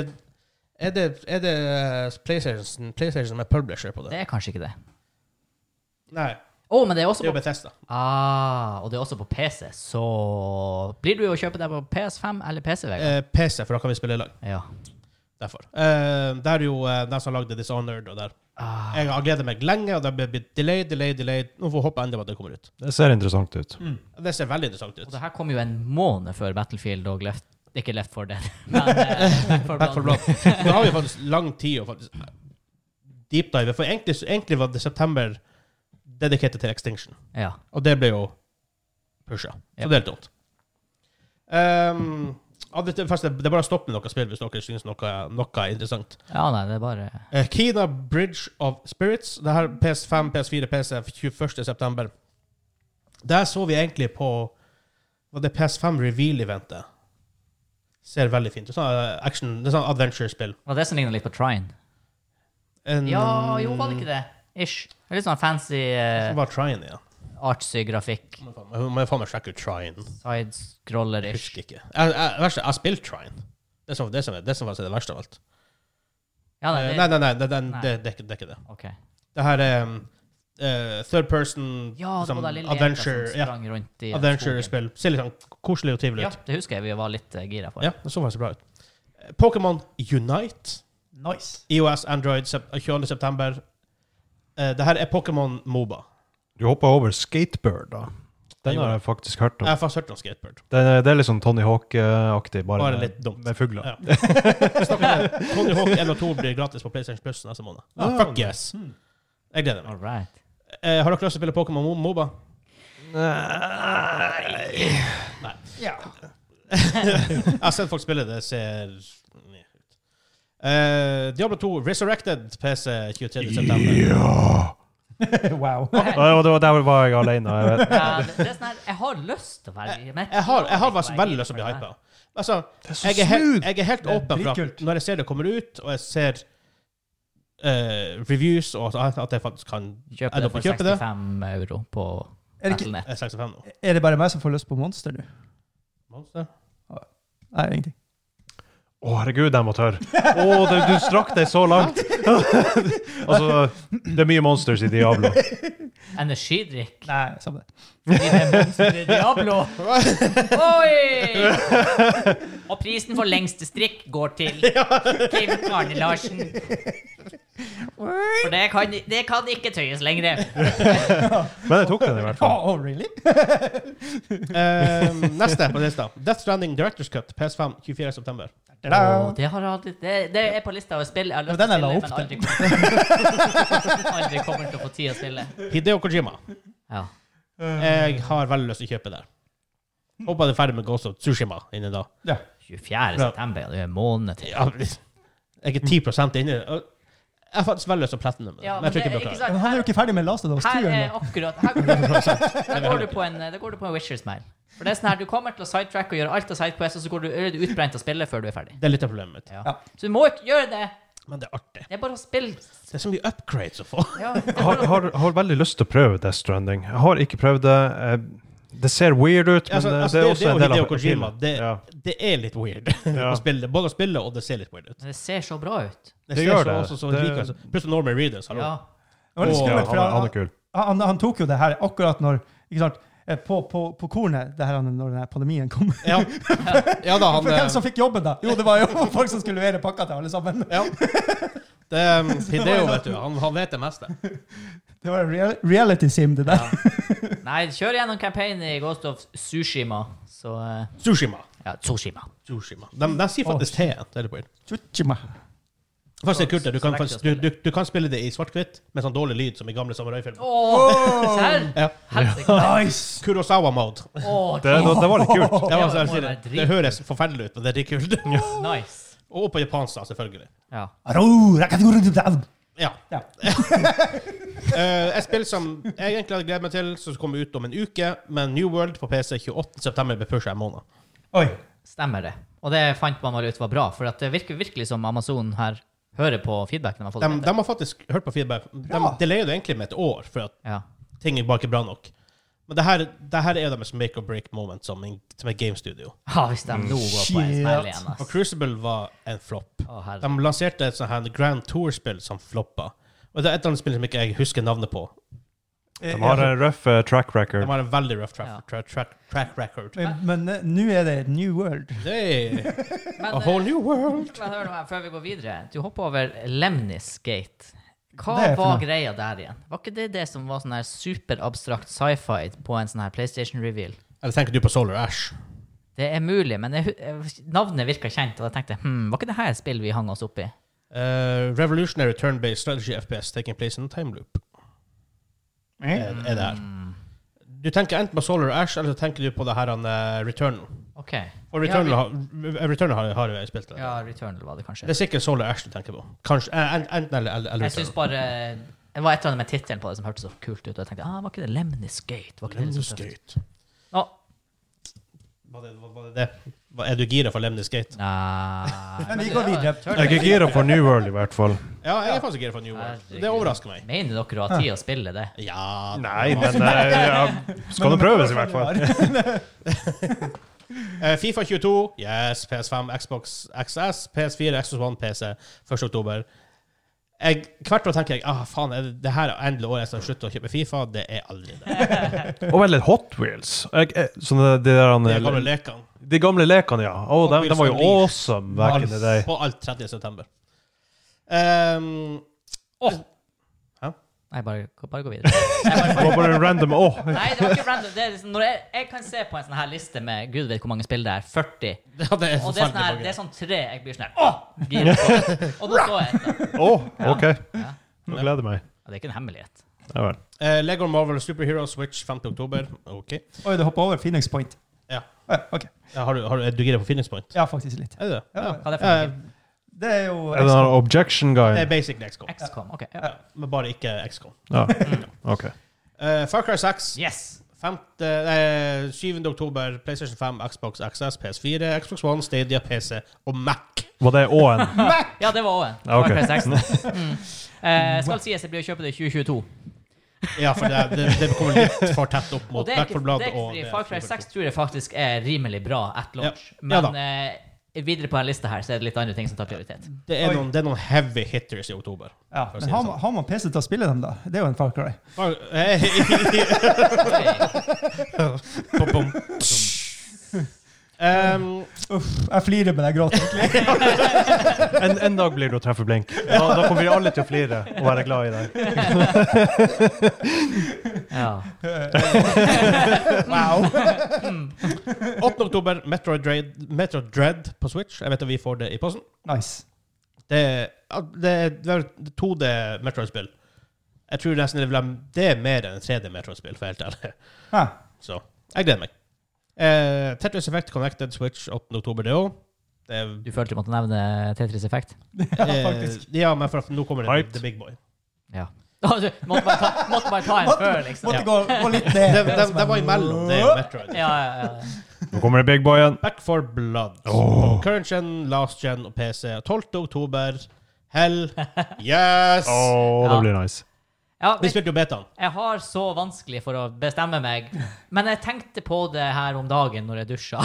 Er det, er det eh, PlayStation, PlayStation som er publisher på det?
Det er kanskje ikke det.
Nei.
Å, men det er
Det er
også
jo
på
Bethesda.
ah, Og det er også på PC, så Blir du å kjøpe det på PS5 eller PC, Vegard?
Eh, PC, for da kan vi spille i lag.
Ja.
Derfor. Eh, det er jo eh, den som lagde Dishonored og der.
Ah,
Jeg har gledet meg lenge, og det har blitt delay, delay, delay. Nå får vi håpe endelig at det kommer ut.
Det ser interessant ut.
Mm.
Det ser veldig interessant
og
ut.
det her kom jo en måned før Battlefield og Left Ikke Left for Dead, men eh, Back for
Back for
Blood.
blood. Nå har vi faktisk lang tid å faktisk deep dive, for egentlig, egentlig var det september dedikert til Extinction.
Ja.
Og det ble jo pusha. Så
Ja.
det er litt dumt. Ehm, ja, det, det- først, det er bare å stoppe med noe spill hvis dere syns noe, noe er interessant.
ja, nei, det er bare
Eh, Kina Bridge of Spirits. Det her PS5, PS4, PC 21.9. Der så vi egentlig på Var det PS5 Reveal-eventet. Ser veldig fint ut. Sånn eh, action, det er sånn adventure-spill.
Var det som ligner litt på Trine?
En-
Ja, jo, var det ikke det? Ish. Det er Litt sånn fancy
Det
eh,
var Trine, ja.
artsy grafikk.
Må jeg faen- Må jeg faen meg sjekke ut Trine. Jeg
Sidescroller-ish.
husker ikke. Jeg, jeg, verste, jeg har spilt Trine. Det som, det, som, er- det som var det verste av alt.
Ja, nei,
Eh,
det,
Nei, nei, nei, det, den,
Nei.
Det, det, er ikke- det er ikke det.
ok.
Det her er um, eh, third person
Ja, det
som
var da lille
adventure,
jenta som
ja,
sprang rundt i
adventure-spill. Ser litt sånn koselig og
skogen.
trivelig
Ja,
ut.
det husker jeg vi var litt eh, gira for.
Ja, det så faktisk bra ut. Eh, Pokémon Unite.
Nice.
IOS, Android, sep- 20. september. Eh, det her er Pokémon Moba.
Du hoppa over Skatebird, da. Den
Jeg
har jeg faktisk hørt
Jeg
om.
har faktisk hørt om skateboard.
Det, er- det er litt sånn Tony Hawk-aktig, bare,
Bare
med-
litt dumt.
med fugler.
Ja. Tony Hawk 1 og 2 blir gratis på PlayStation Plus neste måned.
Ah,
Fuck yes!
Hmm.
Jeg gleder meg.
All right.
Eh, har dere lyst til å spille Pokémon Mo- Moba?
Nei.
Ja.
Jeg har sett folk spille det. ser nye ut. Eh, Diablo 2 Resurrected PC 23. september.
Ja.
Wow.
Og det var der var jeg alene. Jeg vet.
Ja, det, det er sånn her, jeg har lyst til å være med.
Jeg har, jeg har vært veldig lyst til å bli hypa. Altså,
Det er så
jeg, er helt-
smooth!
jeg er helt
Det er
åpen for at
dritkult.
når jeg ser det kommer ut, og jeg ser eh, reviews, og at at jeg faktisk kan
Kjøp
Er
det
det på
for
kjøpet, det?
65 euro på
Er det, ikke,
Battle.net.
Jeg er 65 nå.
er det bare meg som får lyst på Monster nå?
Monster?
Nei, ingenting.
Å, herregud, jeg må tørre. Å, det, du strakk deg så langt! altså, det er mye monsters i Diablo.
Energidrikk.
Nei, samme det.
Fordi det er Monster i Diablo. Oi! Og prisen for lengste strikk går til Kim Arne Larsen. For det kan, det kan ikke tøyes lenger.
Men jeg tok den i hvert fall.
Oh, really?
Eh, neste på lista. Death Stranding Directors Cut PS5 24. september.
Da.
Åh, det, har jeg aldri, det, det er på lista over spill jeg har lyst
Det
til
var
å
den
spille,
jeg
men
la
aldri kommer, aldri kommer til å få tid å spille.
Hideo Kojima.
Ja.
Jeg har veldig lyst til å kjøpe det. Håper det er ferdig med Ghost of Tsushima innen da.
Ja.
24. september, ja, det er en måned til.
Ja, jeg er 10 inne. i det. Jeg har faktisk veldig lyst til å plette den.
Ja,
men jeg tror ikke jeg
det-
blir
ikke
klar.
sant?
Men han er jo ikke ferdig med Last of Us 2
Her er
ennå.
akkurat her går du, Da går du på en, da går du på en Witcher-smell. For det er sånn her, Du kommer til å sidetrack og gjøre alt av sidequest, og så går du, er du utbrent av spillet før du er ferdig.
Det er litt av problemet mitt.
Ja.
Ja.
Så du må ikke gjøre det.
Men det er artig.
Det er bare å spille.
Det er så mye upgrades å få.
Ja, det er
Jeg har,
bare å-
har, har veldig lyst til å prøve Death Stranding. Jeg har ikke prøvd det. Eh, Det ser weird ut, men
Altså,
eh,
altså,
det er
det,
også
det
en
og
del
Hideo
av
Kojima, det,
Ja.
det er litt weird
Ja.
å spille. Både å spille, og det ser litt weird ut.
Men det ser så bra ut.
Det,
Det
ser
gjør
så,
det.
også så
Det-
like ut. Plutselig Norman Reedus, hallo.
Ja.
Det var litt
Åh,
Ja,
skummelt,
han,
for
er- han
han,
er kul.
han, han tok jo det her akkurat når ikke sant, eh, på, på, på kornet det her, når denne pandemien kom.
Ja. ja da, han
For hvem
eh,
som fikk jobben, da? Jo, det var jo folk som skulle levere pakka til alle sammen.
ja. Det er um, Hideo, vet du. Han, han vet det meste.
Det var en real, reality sim, det der.
Nei, kjør gjennom campaignen i Ghost of Sushima. Så eh,
Tsushima.
Ja, Tsushima.
Tsushima. De, de sier faktisk T-en. Det er litt weird.
Tsushima.
Først er det kult, at du kan,
Så vekk til å
faktisk, du, du, du kan spille det i svart-hvitt med sånn dårlig lyd som i gamle samuraifilmer.
Åh, Serr?
Ja.
Helsike.
Nice!
Kurosawa-mode.
Åh,
Det, det, det var litt kult.
Det, var
det
sånn jeg
må
sier
være
det. det høres forferdelig ut, men det er litt kult.
Nice.
Og på japansk, da, selvfølgelig.
Ja.
Aro, rakaturududad.
Ja.
Ja.
Eh, et spill som jeg egentlig hadde gledet meg til, som kommer ut om en uke, men New World på PC 28.9. blir pusha en måned.
Oi.
Stemmer det. Og det fant man vel ut var bra, for at det virker virkelig som Amazon her hører på feedbacken de har fått.
De, de har faktisk hørt på feedback. De
Bra.
delayer det egentlig med et år, for at
Ja.
ting er bare ikke bra nok. Men det her, det her er deres make or break moment som, en, som et gamestudio.
Ja, hvis de nå går på en
Shit.
smell igjen,
Og
ass.
Crucible var en flopp.
Å, herre.
De lanserte et sånt her Grand Tour-spill som floppa. Og det er et eller annet spill som ikke jeg husker navnet på.
De har en røff eh, track
De
record.
har en veldig rough
Ja.
track, tra track, track record.
Men, men eh, nå er det New World.
Hey,
Men,
a whole
eh,
new world!
men hør nå her, før vi går videre. Du hopper over Lemnis Gate. Hva
Det er for
var
noe.
greia der igjen? Var ikke det det som var sånn her superabstrakt sci-fi på en sånn her PlayStation-reveal?
Eller tenker du på Solar Ash?
Det er mulig, men jeg, hu- eh, navnet virka kjent, og jeg tenkte hm, var ikke det her et spill vi hang oss opp i?
Eh, revolutionary turn-based strategy FPS taking place in a time loop. Er,
Mm.
er det her.
Hmm,
Du tenker enten på Solar Ash, eller så tenker du på det her uh, Returnal.
OK.
Og Returnal, har, Returnal har, har jo jeg spilt. det.
Ja, Returnal var det kanskje.
Det er sikkert Solar Ash du tenker på. Kanskje, eh, en- Enten eller, eller, eller
Jeg syns
Returnal.
bare Det var et eller annet med tittelen på det som hørtes så kult ut. Og jeg tenkte ah, var ikke det Lemnis Gate? Var ikke det
Lemnis
liksom tøft?
Gate.
Å,
Var det, var var det det? Hva- Er du gira for Lemnis Gate?
nei.
Men vi går videre.
Jeg er gira for New World, i hvert fall.
Ja, jeg er faktisk gira for New World.
Herregud.
Det overrasker meg.
Mener dere å ha tid å spille det?
Ja
Nei, men eh, ja, skal det prøves, i hvert fall.
Eh, Fifa 22, yes. PS5, Xbox XS, PS4, Xbox One, PC. 1. oktober. Jeg, hvert år tenker jeg ah, faen, er det, det her er endelig året jeg skal slutte å kjøpe Fifa. Det er aldri det.
Og veldig Hot Wheels. Jeg, eh, sånne, de,
Det
der,
er gamle
han-
lekene.
de gamle lekene, ja. Å, de, de var jo awesome back in the day.
På alt 30. september. Ehm,
Nei, bare, bare gå videre. Nei, bare,
Det var bare en random Å,
nei, det var ikke random. Det er liksom, når jeg, jeg kan se på en sånn her liste med gud vet hvor mange spill det er, 40,
ja, det er
og det er sånn, her, det
forferdelig.
er sånn tre jeg blir sånn her Åh! Gira på. Og da så jeg etter.
å, OK.
Ja.
Nå gleder jeg meg.
Ja, det er ikke en hemmelighet.
Ja vel.
Uh, Lego Marvel Superhero Switch 5. oktober. OK.
Oi, du hoppa over Phoenix Point.
Ja.
Ja, ok.
Ja, har du, har du, er du gira på Phoenix Point?
Ja, faktisk litt.
Er du det? Ja.
Ja.
Hva er det for
Eh,
noe?
Det er jo
Er det den objection
Det
guyen?
er basically XCOM.
XCOM. OK. Ja.
Ja, men bare ikke XCOM.
Ja. OK.
Uh, Far Cry 6.
Yes!
Femte, eh, 7. oktober, PlayStation 5, Xbox XS, PS4, Xbox One, Stadia, PC og Mac.
Var det Å-en?
Ja, det var Owen.
Ja, ok.
Mm. Eh, skal sies jeg blir å kjøpe det i 2022.
Ja, for det, det, det kommer litt for tett opp mot
Og det er ikke, det
Backforbladet.
er ikke fordi Far Cry 6 tror jeg faktisk er rimelig bra at launch.
Ja, da.
Men eh, videre på en liste her så er det litt andre ting som tar prioritet.
Det er, noen, det er noen heavy hitters i oktober.
Ja,
for å si
men
det
har
sånn.
man, har man PC til å spille dem, da? Det er jo en Far Cry.
Far- eh,
Oi.
bom, bom. Ehm,
Uff, jeg flirer, men jeg gråter egentlig.
En, en dag blir det å treffe blink. Da, da kommer vi alle til å flire og være glad i deg.
Ja.
Wow.
8. oktober, Metroid Dread, Metroid Dread på Switch. Jeg vet at vi får det i posten.
Nice.
Det, ja, det, det er 2D Metroid-spill. Jeg tror nesten det, vil være- det er mer enn 3D Metroid-spill, for helt ærlig.
Ja.
Så jeg gleder meg. Eh, Tetris Effect Connected Switch 8. oktober, det òg. Det er
Du følte du måtte nevne Tetris Effect?
Ja, faktisk.
Eh, ja, men for at nå kommer det
Hyped.
The Big Boy.
Ja. måtte, bare ta, måtte bare ta en før, liksom.
Måtte gå, gå litt ned.
Det, det, det var imellom det og Metroid.
Ja, ja, ja.
Nå kommer det big boyen.
Back for Blood.
Åh.
Current gen, last gen og PC. 12. oktober. Hell yes!
Å, det blir nice.
ja
Vi
vet,
spilte jo betaen.
jeg har så vanskelig for å bestemme meg, men jeg tenkte på det her om dagen når jeg dusja.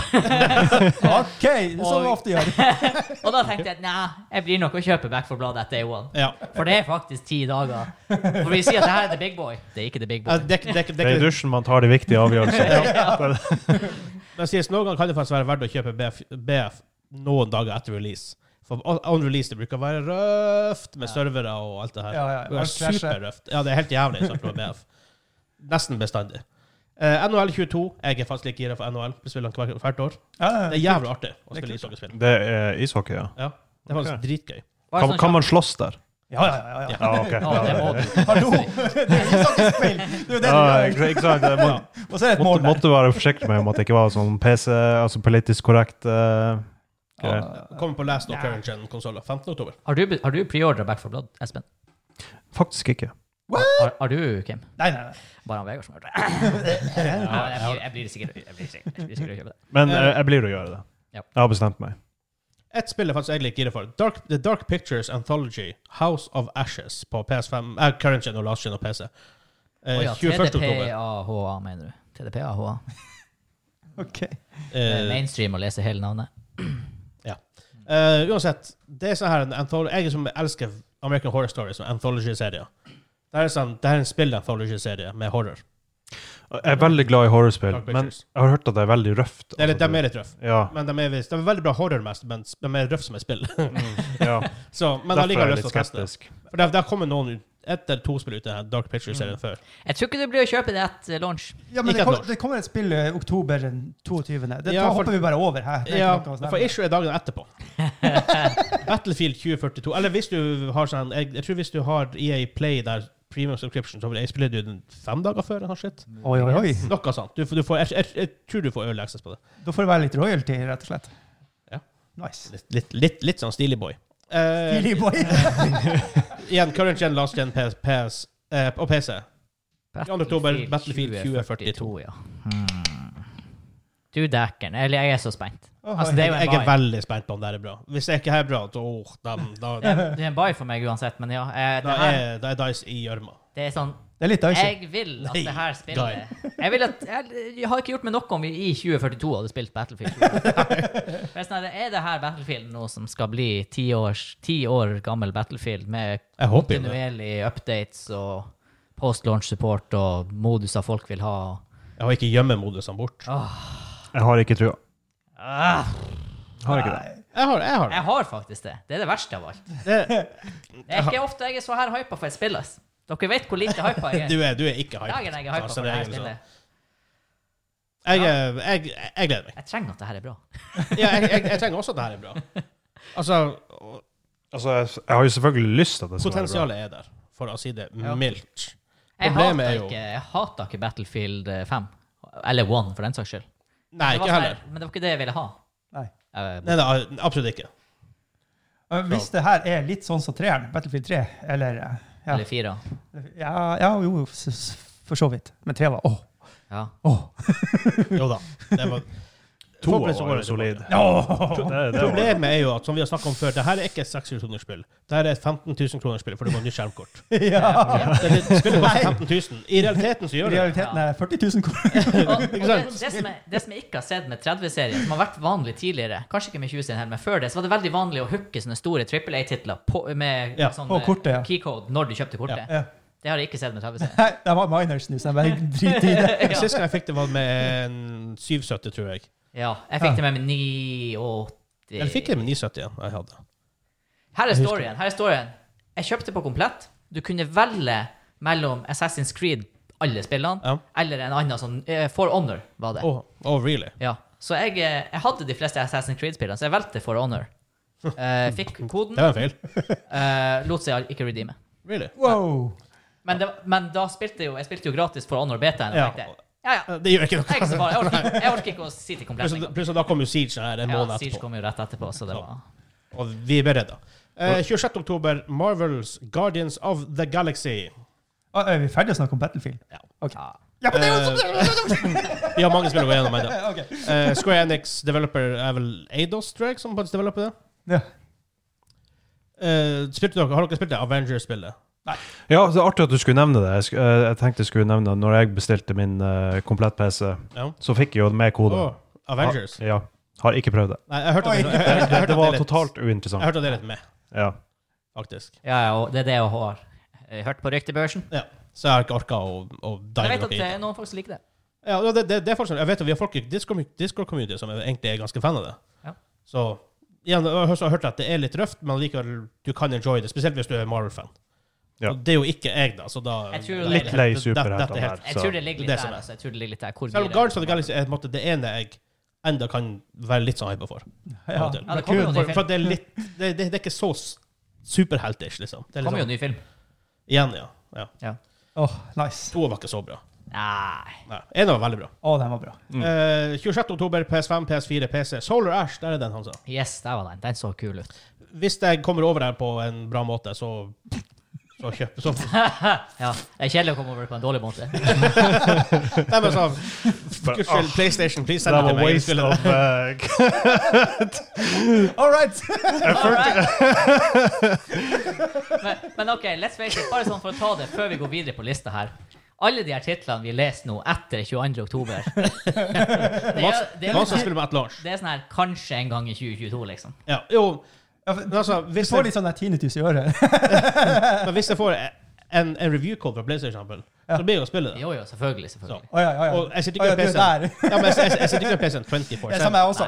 OK, som vi ofte gjør.
Og da tenkte jeg nei, jeg blir nok å kjøpe Back for Blood at day one.
Ja.
For det er faktisk ti dager. For vi sier at det her er The Big Boy. Det er ikke The Big
Eh,
Boy.
Det er ikke- det er ikke- det
Det er
er
i
ikke-
dusjen man tar de viktige avgjørelsene.
men sies noen ganger kan det faktisk være verdt å kjøpe BF, BF noen dager etter release. For on on release det bruker å være røft med servere og alt det her.
Ja, ja,
det er
alt krasjer.
superrøft. Ja, det er helt jævlig sagt med BF. Nesten bestandig. Eh, NHL 22. Jeg er faktisk like gira for NHL. Vi spiller den hver- hvert år.
Ja,
Det er jævlig artig å spille ishockeyspill.
Det er ishockey, ja.
Ja. Det er faktisk
Ok.
dritgøy.
Bare
Kan,
sånn
kan man slåss der?
ja, ja. ja, ja.
Ja, ok.
kjapt. Å, det
Ja,
må du.
Hallo! Det er jo sånn spill. Det er jo det
ja,
du gjør.
ikke ikke sant? Det må,
Og så er det et mål
måtte,
der.
måtte være forsiktig med om at det ikke var sånn PC, altså politisk korrekt eh, greier.
Kommer på last og current gen-konsoller 15. oktober.
Har du, har du preordra Back for Blood, Espen?
Faktisk ikke.
Har, har du, Kim?
Nei, nei, nei.
Bare han Vegard som har gjort det. Ja, jeg, blir, jeg blir sikkert jeg blir sikkert, jeg blir sikkert å kjøpe det.
Men eh, jeg blir å gjøre det.
Ja.
Jeg har bestemt meg.
Ett spill er faktisk jeg litt gira for. Dark, The Dark Pictures Anthology House of Ashes på PS5. Eh, current gen og last gen og PC. Eh,
Å ja,
21. oktober.
TDPAHA, mener du? TDPAHA.
OK.
Det er
Eh,
mainstream å lese hele navnet.
ja. Eh, uansett, det er sånn her en anthology Jeg som elsker American Horror Stories og anthology-serier. Det er sånn, det er en spill-anthology-serie med horror.
Jeg er veldig glad i horrorspill,
Dark
men
Pictures.
jeg har hørt at det er veldig røft.
Det er litt, de
Altså,
er litt røff.
du- ja,
Men de er, visst- de er veldig bra horror-mest, men s- de er røff som et spill.
ja.
Så, men jeg
Derfor
liker
er jeg
lyst
litt
til å teste. det.
skeptisk.
For det, det har kommet noen ut- ett eller to spill ut av den Dark
Mm.
Pictures-serien før.
Jeg tror ikke du blir å kjøpe det etter launch.
Ja,
Ikke
men det,
et
kom,
år.
det kommer et spill i oktober den 22. Det
Ja,
tar-
for-
hopper vi bare over her. Det er
Ja,
ikke noe å
for
snakke om.
issue er dagen etterpå. Battlefield 2042. Eller hvis du har sånn Jeg, jeg tror hvis du har EA Play der premium subscription, så vil jeg spille du den fem dager før? eller noe shit.
Oi, oi, oi.
Noe sånt. Du, får- du får, jeg, jeg, jeg tror du får early access på det.
Da får det være litt royalty, rett og slett.
Ja.
Nice.
Litt, litt, litt, litt sånn stilig boy. Eh,
Billy boy.
igjen, current gen, last gen, PS, PS eh, og PC. 2. oktober, Battlefield 2042.
ja. Hmm. Du dækker'n. Eller jeg er så spent.
Åh,
Altså, det er
Jeg,
jo
jeg
en
er
buy.
veldig spent på om det her er bra. Hvis det ikke her er bra, da, åh, da, da,
Det er- det er en buy for meg uansett, men ja. eh,
da,
Det, her,
er, da er Dice i gjørma.
det er sånn
Det er litt dicey.
Jeg vil at
Nei,
det her
Guy.
spillet Jeg vil at jeg, jeg har ikke gjort meg noe om vi i 2042 hadde spilt Battlefield. 2042. For jeg er sånn her, er det her Battlefield nå som skal bli ti års- ti år gammel Battlefield med
Jeg håper jo det.
kontinuerlig updates og post-launch support og moduser folk vil ha?
Jeg har ikke gjemmemodusene bort.
Jeg har ikke trua.
Ah,
Har ikke det.
Jeg har, jeg har det.
jeg har faktisk det. Det er det verste av alt.
det.
Det er ikke ofte jeg er så her hypa for et spill. ass. Dere vet hvor lite hypa jeg er.
Du er, du er ikke hyped.
Dagen jeg er hypa
sånn
for
som
det her
regel, så.
spillet.
Jeg, eh, jeg, jeg gleder meg.
Jeg trenger at det her er bra.
Ja, jeg, jeg, jeg trenger også at det her er bra. Altså, og
Altså, jeg, jeg har jo selvfølgelig lyst til at det skal være bra.
potensialet er der, for å si det mildt.
Jeg
Problemet
hater,
er jo-
ikke, jeg hater ikke Battlefield eh, 5. Eller 1, for den saks skyld.
Nei,
Det var
ikke
sånn
heller.
her, Men det var ikke det jeg ville ha.
Nei.
Eh,
Nei, nei, absolutt ikke.
Uh, Hvis det her er litt sånn som treeren, Battlefield 3, eller uh, ja.
Eller fire.
ja, ja, jo, s- s- for så vidt. Men tre var åh,
Ja.
åh.
Jo da. Det var,
To
Forhåpentligvis så går
var jo
det
solid.
tilbake.
Åh.
Det, det var.
Problemet er jo at som vi har snakket om før, det her er ikke et 600 kroners spill. Det her er et 15 000 kroners spill, for det må nytt skjermkort.
Ja.
Det, det spillet koster 15 000. I realiteten så
I
gjør det det.
realiteten er 40 000 kroner.
Og, og det, det, som jeg, det som jeg ikke har sett med 30-serien, som har vært vanlig tidligere, kanskje ikke med 20-serien, her, men før det, så var det veldig vanlig å hooke sånne store Triple A-titler på- med
Ja,
sånn,
på
eh,
kortet, ja.
keycode når du kjøpte kortet.
Ja.
Det har jeg ikke sett med 30-serien.
Nei, det var miners nå, så jeg bare driter i det.
Sist gang jeg fikk det, var med en 770, tror jeg.
Ja, jeg fikk det med meg 89
Eller fikk jeg med 970 igjen? Jeg hadde.
Her er storyen. her er storyen. Jeg kjøpte på komplett. Du kunne velge mellom Assassin's Creed, alle spillene,
Ja.
eller en annen sånn eh, For Honor, var det.
Oh, oh, really?
Ja. Så jeg, eh, jeg hadde de fleste Assassin's Creed-spillene, så jeg valgte For Honor. Eh, fikk koden,
Det var en feil.
eh, lot seg ikke redeeme.
Really?
Wow.
Men, det, men da spilte jo, jeg spilte jo gratis For Honor Beta. og
Ja.
tenkte, Ja, ja.
Eh, Det gjør ikke
Jeg, er
noe.
ikke så bare, jeg, orker, jeg orker ikke å si til komplett.
Plutselig
engang.
plutselig da kom jo Siege her en
Ja,
måned
Siege
etterpå.
kom jo rett etterpå, så det var
Og vi er beredt. Eh, 26. oktober, Marvels Guardians of the Galaxy.
Ah, Er vi ferdige å snakke om Battlefield?
ja.
Ja, men det er jo sånn
Eh, Vi har mange spill å gå gjennom ennå.
Ok.
Eh, Square Enix developer er vel Eidos, tror jeg, som faktisk developer det.
Ja.
Eh, spilte dere, har dere spilt det? Avenger-spillet?
Ja, det er artig at du skulle nevne det. Jeg, sk eh, jeg tenkte jeg skulle nevne det når jeg bestilte min eh, komplett PC.
Ja.
Så fikk jeg jo med kode.
Åh, Avengers?
Ha, ja. Har ikke prøvd det.
Nei, jeg hørte at
Oi.
jeg- jeg- jeg hørte
Det,
at
det var
er litt-
totalt
Jeg
uinteressant.
hørte at det er litt med,
Ja.
faktisk.
ja, ja, og det er det jeg har eh, hørt på ryktebørsen.
Ja. Så jeg har ikke orka å, å dive
Jeg vet
noe
at
i
eh,
det.
noen folk som liker det.
Ja, det, det, det er faktisk, jeg vet at vi har folk i Discord- Discord-community som er- egentlig er ganske fan av det.
Ja.
Så igjen, jeg har også hørt at det er litt røft, men likevel, du kan enjoy det. Spesielt hvis du er Marvel-fan.
Ja.
Og Det er jo ikke jeg, da. Så da
Jeg tror
da
det
er
er
det
Litt lei
helt- det- dette er
superheltene
helt-
her.
Jeg
Så.
tror det ligger
Det
litt
som
der.
er.
Altså. Jeg tror det ligger litt der. Hvor
Selv om
blir
Guardians of the Galaxy er på en måte det ene jeg enda kan være litt sånn hypa for.
Ja.
Av og til.
Ja, det kommer jo en ny
For, for
film.
det er litt Det, det, det er ikke så s- superheltish, liksom. Det er
Det kommer jo
liksom
en ny film.
igjen, ja. ja.
Åh, nice.
To var ikke så bra.
Nei.
Nei. En var veldig bra.
Åh, den var bra.
Mm.
Eh, 26. oktober, PS5, PS4, PC. Solar Ash, der er den han sa.
Yes, der var den. Den så kul ut.
Hvis jeg kommer over her på en bra måte, så så kjøp så,
Ja, Det er kjedelig å komme over på en dårlig måte.
Nei, men så, Guds skyld, PlayStation, please send
Det
det til meg.
var
Jeg vil
waste
spille det.
of eh,
All right.
Men, men OK, let's face it. Bare sånn for å ta det før vi går videre på lista her. Alle de her titlene vi leser nå etter 22. oktober Det er, det er,
Man skal spille med et Lars.
det er sånn her kanskje en gang i 2022, liksom.
Ja, jo,
Ja, for-
men altså,
Du
hvis
får
jeg,
litt sånn der tinnitus i øret.
men hvis jeg får en, en review-code fra PlayStation, for eksempel, så blir jeg å spille det.
Jo, jo, selvfølgelig. selvfølgelig.
Å ja, ja, ja.
Og jeg sitter
Å,
ikke
ja,
med
du er
PC-en. Ja, men jeg, jeg, jeg sitter ikke med PC-en
Det er samme
24-7.
jeg også.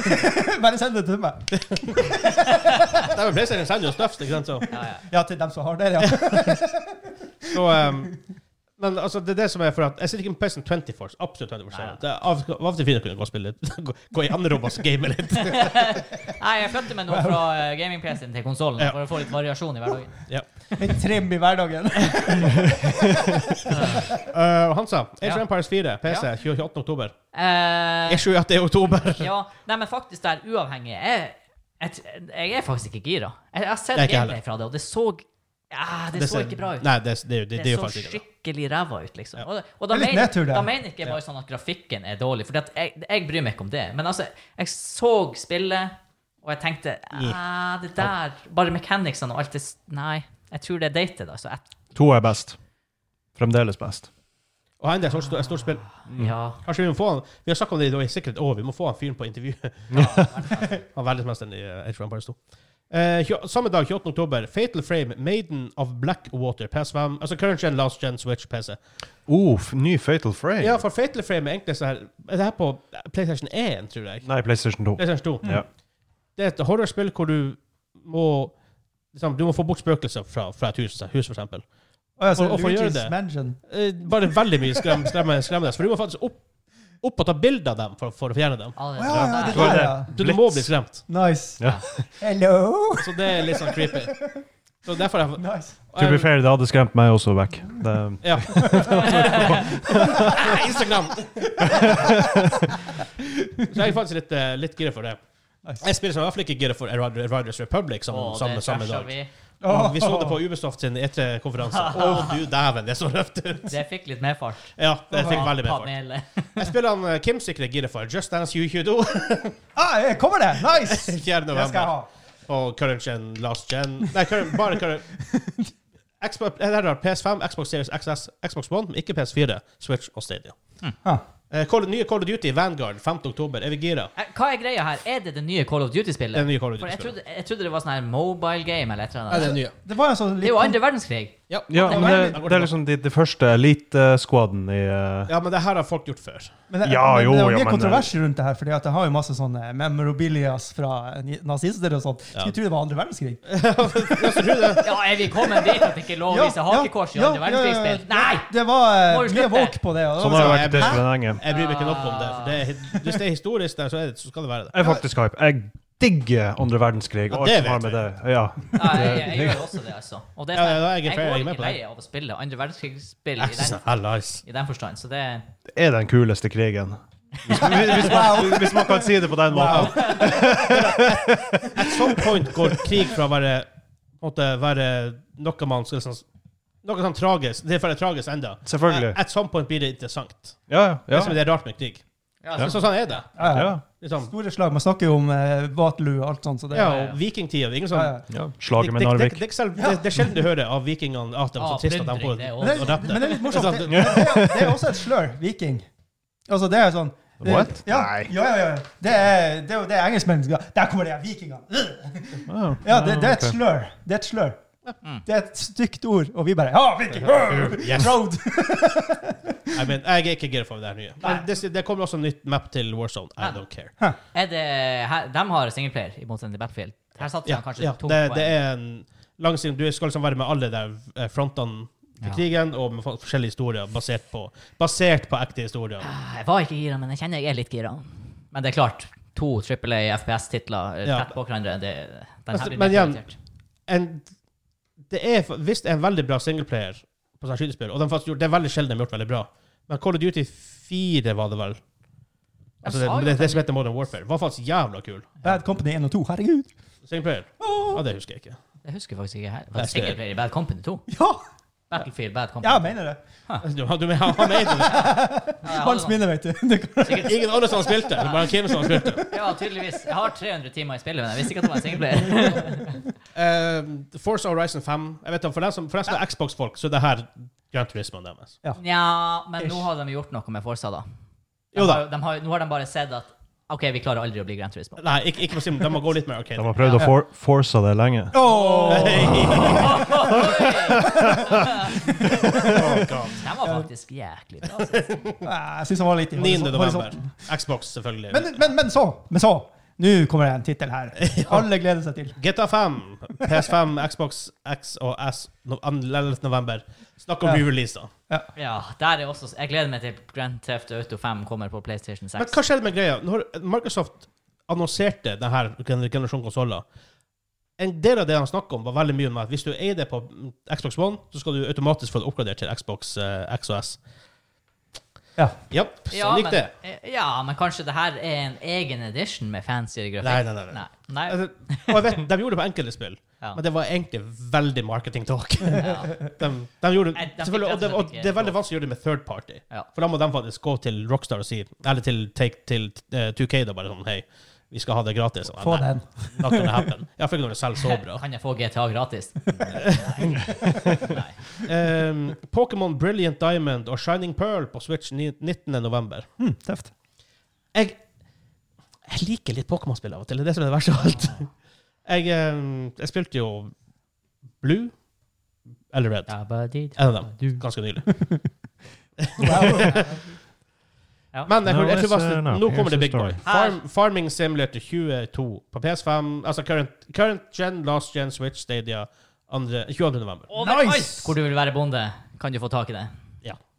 Bare send det til meg.
Nei, men PlayStation sender jo stuff, ikke sant, så
Ja, ja.
Ja, til dem som har det, ja.
Så, ehm, men altså, det er det som er for at Jeg sitter ikke med PlayStation 20 Force. Absolutt 20 Force.
Nei.
Det er av, av og til fint å kunne gå og spille litt. Gå, gå i andre rom og game litt.
Nei, jeg flytter meg nå fra eh, gaming-PC-en til konsollen
Ja.
for å få litt variasjon i hverdagen.
Litt trim i hverdagen.
Uh, Hansa, Age of
Ja.
Empires 4, PC,
Ja.
28. oktober.
Eh,
Jeg tror at det er oktober.
Ja, nei, men faktisk der uavhengig jeg, jeg, jeg er faktisk ikke gira. Jeg, jeg har sett
Jeg er ikke
gameplay
heller.
fra det, og det så ja, det, så
ser-
ikke bra ut.
Nei, det, det, det,
det,
det er jo
så
faktisk ikke det.
skikkelig ræva ut, liksom.
Ja.
Og, og da,
Det er litt
mener,
nedtur, det.
da mener ikke jeg bare sånn at grafikken er dårlig, for jeg, jeg bryr meg ikke om det. Men altså, jeg så spillet, og jeg tenkte "Ah, det der Bare mechanicsene og alt det s- Nei, jeg tror det er dated, altså. Jeg,
To er best. Fremdeles best.
Og her er det et stort, et stort spill.
ja.
Kanskje vi må få han Vi har snakket om det i dag, sikkert. Å, vi må få han fyren på intervjuet. han verdensmesteren i eh, Age of Empires 2. Eh, tjue- samme dag, 28. oktober, Fatal Frame, Maiden of Blackwater, PS5 Altså current gen, last gen, Switch, PC.
Uff, Oh, ny Fatal Frame.
Ja, for Fatal Frame er egentlig sånn her Er det her på PlayStation 1, tror jeg?
Nei, PlayStation 2.
PlayStation 2.
Ja.
Det er et horrorspill hvor du må liksom, Du må få bort spøkelser fra, fra et hus, hus for eksempel.
Å, ja, så
Og- og for å gjøre
Luigi's
det.
Mansion.
Eh, bare veldig mye skrem, skremme, skremmende. For du må faktisk opp, opp og ta bilde av dem for, for å fjerne dem.
Ah, det,
Å, ja, ja, det
der.
var
der,
det.
ja.
Du, du må bli skremt.
Nice.
Ja.
Hello.
Så det er litt sånn creepy. Så derfor jeg,
Nice.
To be fair, det hadde skremt meg også vekk. Det,
Ja. Nei, Instagram! Så jeg er faktisk litt, eh, litt gira for det.
Nice.
Jeg spiller som i hvert fall ikke gira for Riders- Riders Republic som,
Å,
samme,
det
samme
trasha
dag.
vi.
Og Vi så det på Ubisoft sin E3-konferanse. Å, du dæven, det så røft ut!
Det fikk litt medfart.
Ja, det fikk veldig med fart.
Panelet.
Jeg spiller han eh, Kim sikre gira for Just Dance 2022
Ah, jeg kommer det! Nice!
4.
Det skal jeg
november.
ha.
Og current gen, last gen Nei, current, bare current. Xbox, eh, der er det PS5, Xbox Series XS, Xbox One, men ikke PS4, Switch og Stadia.
Ah.
Eh, Call, nye Call of Duty, Vanguard, 5. oktober. Er vi gira?
Eh, Hva er greia her? Er det det nye Call of Duty-spillet?
Det er nye Call of
For jeg
Duty-spillet.
trodde, jeg trodde det var sånn her mobile game eller et eller
Nei,
annet.
det er nye.
Det var jo en sånn
Det er jo
litt
andre verdenskrig.
Ja,
Ja,
da-
men
da-
det,
da går
det
bra.
er liksom de, de første elite-squaden i eh,
Ja, men det her har folk gjort før.
Men det,
Ja,
men
jo,
det er
ja,
mye
eh,
men-
kontrovers rundt det her, for det har jo masse sånne memorabilias fra ni- nazister og sånt. Skulle
Ja.
tro det var andre verdenskrig.
Ja, er vi kommet dit at det ikke er lov å vise hakekors i
ja,
andre
ja, ja, ja.
verdenskrigsspill? Nei!
Det var eh,
Må vi
mye
slutte?
våk på det. og det
Sånn
var
har det
sånn,
vært det
hæ?
så lenge.
altså, Jeg bryr meg ikke nok om det. For det er, hvis det er historisk der, så, er det, så skal det være det.
Jeg er faktisk hype. Jeg digger andre verdenskrig og
Ja, det
alt som har
vet
med det Ja.
Nei, jeg, jeg, gjør også det, altså. Og det
Ja,
sånn-
ja, jeg er fair, jeg er
går
med på
ikke
det.
lei av å spille andre verdenskrigsspill i
Axis
den,
and Allies.
i den forstand, så det
Det er den kuleste krigen. Hvis, hvis, hvis, man, hvis man kan si det på den måten.
Wow. At some point går krig fra å være, på en måte, være noe man skal sånn, Noe sånn tragisk. Det er for det er tragisk enda.
Selvfølgelig.
At some point blir det interessant.
Ja,
Det
ja.
er som det er rart med krig.
ja, altså,
Så, sånn er det.
Ja, ja.
ja.
Liksom.
Store slag. Man snakker jo om eh, Waterloo og alt sånt. Så Sånn det,
Ja, og vikingtida. Det er ingen
ja,
sånn
ja.
ja.
det,
Slaget
det,
med
det,
Narvik.
det, er ikke selv- det, det er sjelden du hører av vikingene at de er
Ah,
så trist at de
plyndring,
får
det er
og
også-
Men, det,
drepte.
men det er litt morsomt.
Ikke
Det,
sant?
det, er, det er også et slør. Viking. Altså, det er sånn det-
What?
Ja,
Nei.
ja, ja, ja. Det er det, er jo det engelskmennene skal Der kommer de her vikingene!
Ja,
Ja, det, det
Ah,
er et
ok.
slør. Det er et slør.
Mm.
Det er et stygt ord, og vi bare Ja, viking! øh,
Yes.
Road!
I mean, jeg er ikke gira for det her nye. Men det, det kommer også en nytt map til Warzone. I don't care.
Er det, her, de har singleplayer i motsetning til Battlefield. Her satser
Ja,
de kanskje
ja
tungt
det,
på
det
en-
er en lang siden Du skal liksom være med alle der eh, frontene til
Ja.
krigen, og med for- forskjellige historier basert på, basert på ekte historier.
Ah, Jeg var ikke gira, men jeg kjenner jeg er litt gira. Men det er klart, to Triple A FPS-titler eh,
Ja.
tett på hverandre, det, den
Altså,
her blir
men
mer
igjen-
prioritert.
En, det er fa- hvis det er en veldig bra singleplayer på sånn skytespill, og de faktisk gjort, det er veldig sjelden de har gjort veldig bra, men Call of Duty 4 var det vel? Altså, det,
sa jo
det, det
at de-
som heter Modern Warfare, var faktisk jævla kul.
Bad Company 1 og 2. Herregud!
Singleplayer? Ja, det husker jeg ikke.
Jeg husker faktisk ikke her.
Jeg
Var det
ser-
singleplayer i Bad Company 2?
Ja!
Battlefield Bad
Ja,
Company.
jeg mener det.
Altså, Du, du, han, han mente det.
Ja, jeg
Hans
hadde
minne, vet du. Det kan-
sikkert-
Ingen andre som han spilte, det var bare Kim som han spilte.
Ja, tydeligvis. Jeg har 300 timer i spillet, men jeg visste ikke at det var en singleplayer.
Uh, Force Horizon 5 Jeg vet da, For dem som, for dem som er Xbox-folk, så er det her Gran Turismoen deres.
Nja, men nå
Ish.
har de gjort noe med Forsa, da. De
Jo da.
Har, de har, nå har de bare sett at OK, vi klarer aldri å bli Grand Turismo.
Nei, ikke, ikke for å si men de må gå litt mer
De
arcade.
har prøvd å for force det lenge.
Åh!
Den var faktisk jæklig bra. altså.
Nei, Jeg syns han var litt
9.
i horisont-
november.
horisonten.
Xbox, selvfølgelig.
Men, men, men så! Men så! Nå kommer det en tittel her. Alle gleder seg til.
GTA 5, PS5, Xbox X og S no, 11. november. Snakk om
Ja.
re-release, da.
Ja, der er også Jeg gleder meg til Grand Theft Auto 5 kommer på PlayStation 6.
Men hva skjedde med greia? Når Microsoft annonserte denne generasjonen konsoller en del av det han snakket om, var veldig mye om at hvis du eier det på Xbox One, så skal du automatisk få det oppgradert til Xbox eh, X og S.
Ja.
Ja, sånn
ja,
gikk det.
men, ja, men kanskje det her er en egen edition med fancyere grafikk?
Nei, nei, nei, nei.
nei. nei.
Altså, Og jeg vet, de gjorde det på enkelte spill,
Ja.
men det var egentlig veldig marketing-talk.
Ja.
De, de gjorde,
Nei, de
selvfølgelig, og, det,
fikk rett og slett
og
ikke
det er veldig
lov.
vanskelig å gjøre det med third party.
Ja.
For da må de faktisk gå til Rockstar og si, eller til, take, til eh, 2K da, bare sånn, hei, vi skal ha det gratis. Og,
Få
nei,
den.
Not gonna happen. I hvert fall ikke når det selger så bra.
Kan jeg få GTA gratis?
Ehm, Pokémon Brilliant Diamond og Shining Pearl på Switch ni- 19. november.
Hm, tøft.
Jeg, jeg liker litt Pokémon-spill av og til. Det er det som er det verste av alt. Jeg, ehm, jeg spilte jo Blue eller Red. En av dem. Ganske nylig.
Ja.
Men jeg,
Now
jeg tror
is, uh,
faktisk-
now,
nå kommer
here's
det
the
Big Boy.
story.
Farm, Farming Simulator 22 på PS5. Altså current, current gen, last gen, Switch, Stadia andre, 22. november.
Nice!
Hvor du vil være bonde, kan du få tak i det.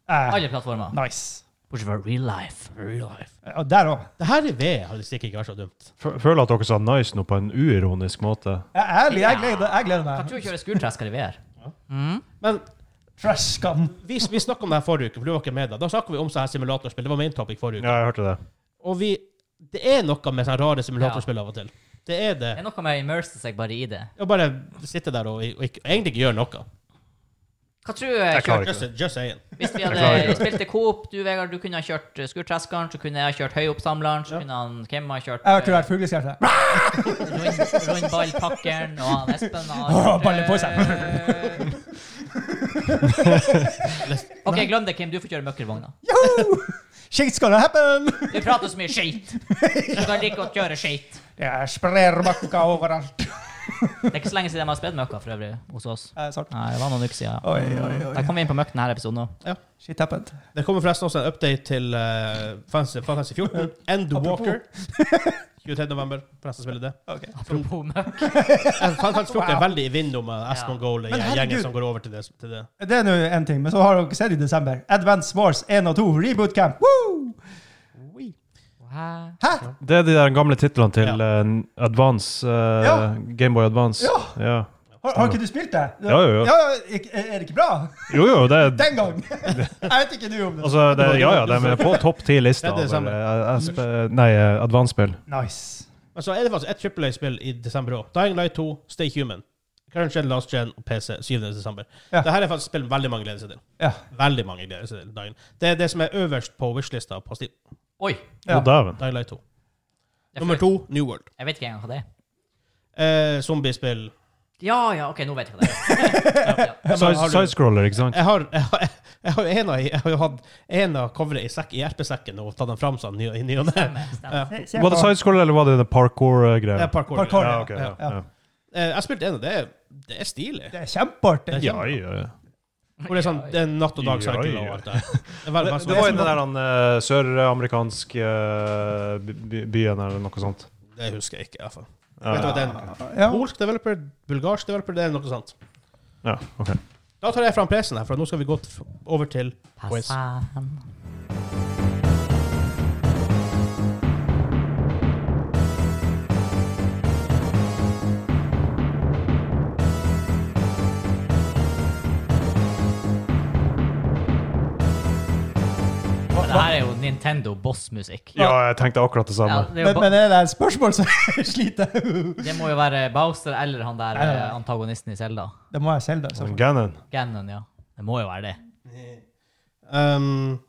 Eh,
Alle plattformer.
nice.
Bortsett fra real life.
Real life.
Ja, der òg.
Det her i V hadde sikkert ikke vært så dumt.
F- Føler at dere sa nice nå på en uironisk måte.
Ærlig, jeg gleder, jeg gleder
Kan
meg.
du kjøre skurtresker i VR?
Men
Trash-skan.
vi, vi snakket om det her forrige uke, for du var ikke med da. Da snakket vi om sånne her simulatorspill. Det var main topic forrige uke.
Ja, jeg hørte det.
Og vi Det er noe med sånne rare simulatorspill av og til. Det er det.
Det er noe med å immerse seg bare i det.
Å bare sitte der og, og ikke, egentlig ikke gjøre noe.
Hva tror jeg
klarer
kjørt,
ikke
Just, just saying.
Hvis vi
klarer
hadde
ikke.
spilt til Coop, du Vegard, du kunne ha kjørt eh, skurtreskeren, så kunne jeg ha kjørt høyoppsamleren, så kunne han Kim ha kjørt eh,
Jeg tror det er fugleskjerfe.
rund- rundballpakkeren, og han Espen har
Åh,
kjørt,
ballen på
eh, OK, glem det, Kim. Du får kjøre møkkervogna.
Shit's gonna happen!
Du prater så mye skit. Du kan like godt kjøre skit.
Det er sprerbakker overalt.
Det er ikke så lenge siden de har spredd møkka for øvrig hos oss.
Eh, Svart.
Nei, det var noen uker siden. ja.
Oi, oi, oi.
Da kom vi inn på møkken denne episoden òg.
Shit happened.
Det kommer forresten også en update til uh, Fantasy, Fantasy 14. End
Apropos.
Walker. 23. november. Forresten spiller det.
Ok.
Apropos møkk.
Eh, Fantasy 14 er veldig i vinden eh, med
Ja.
Aston Goal
Men herregud.
gjengen som går over til det. Til det.
Det er nå én ting, men så har dere sett i desember. Advance Wars 1 og 2 Reboot Camp. Woo!
Wow.
Hæ?
Det er de der gamle titlene til
Ja.
eh, Advance, eh,
Ja.
Gameboy Advance.
Ja.
Ja.
Har, har ikke du spilt det?
Ja, jo, jo.
ja, ikke- Er det ikke bra?
Jo, jo, det er
Den gang! Jeg vet ikke nå om det.
Altså, det, ja, ja, de er på topp ti-lista.
Det er det samme.
Nei, eh, Advance-spill.
Nice.
Men så er det faktisk et Triple A-spill i desember òg. Dying Light 2, Stay Human. Current Gen, Last Gen og PC 7. desember.
Ja.
Dette er faktisk spill veldig mange gleder seg til.
Ja.
Veldig mange gleder seg til Dying. Det er det som er øverst på wishlista på Steam.
Oi.
Ja.
Å, dæven.
Dying Light 2.
det er
Nummer
flaut.
to, New World.
Jeg vet ikke engang hva det er.
Eh, zombiespill.
Ja, ja, OK, nå vet jeg hva det er. Ja, ja.
Ja, men har du-
Sidescroller, ikke sant?
Jeg har, jeg har, jeg har, jo en av, jeg har jo hatt en av coveret i, sekk, i hjelpesekken og tatt den fram sånn ny- i ny og ne.
Stemmer, stemmer.
Se- se
Var det
på-
sidescroller, eller var det det
Det
parkour-greia?
er parkour.
Parkour.
Ja, ok, ja,
Ja.
ja.
Eh, Jeg spilte en av det. er- Det er stilig.
Det er kjempeartig.
Det er
Ja, ja, ja.
Hvor det er sånn det er natt og dag cycle og alt det der. Det er veldig-
Det,
veldig-
det var i den der eh, søramerikanske eh, by- by- byen eller noe sånt.
Det husker jeg ikke, i hvert fall.
Ja.
Vet du hva det er?
Ja.
Polsk developer, bulgarsk developer, det er noe sånt.
Ja, ok.
Da tar jeg fram PC-en her, for nå skal vi gå t- over til
Pass
quiz.
an. Men Det her er jo Nintendo boss-musikk.
ja, jeg tenkte akkurat det
Ja,
samme.
det, er
Men,
jo
men
ba-
er det et spørsmål, så sliter jeg.
det må jo være Bowser eller han der
Ja, ja,
eh,
ja.
antagonisten i Zelda.
Det må jeg selv, da.
Men
selvfølgelig.
Ganon.
Ganon, ja. Det må jo være det.
Um,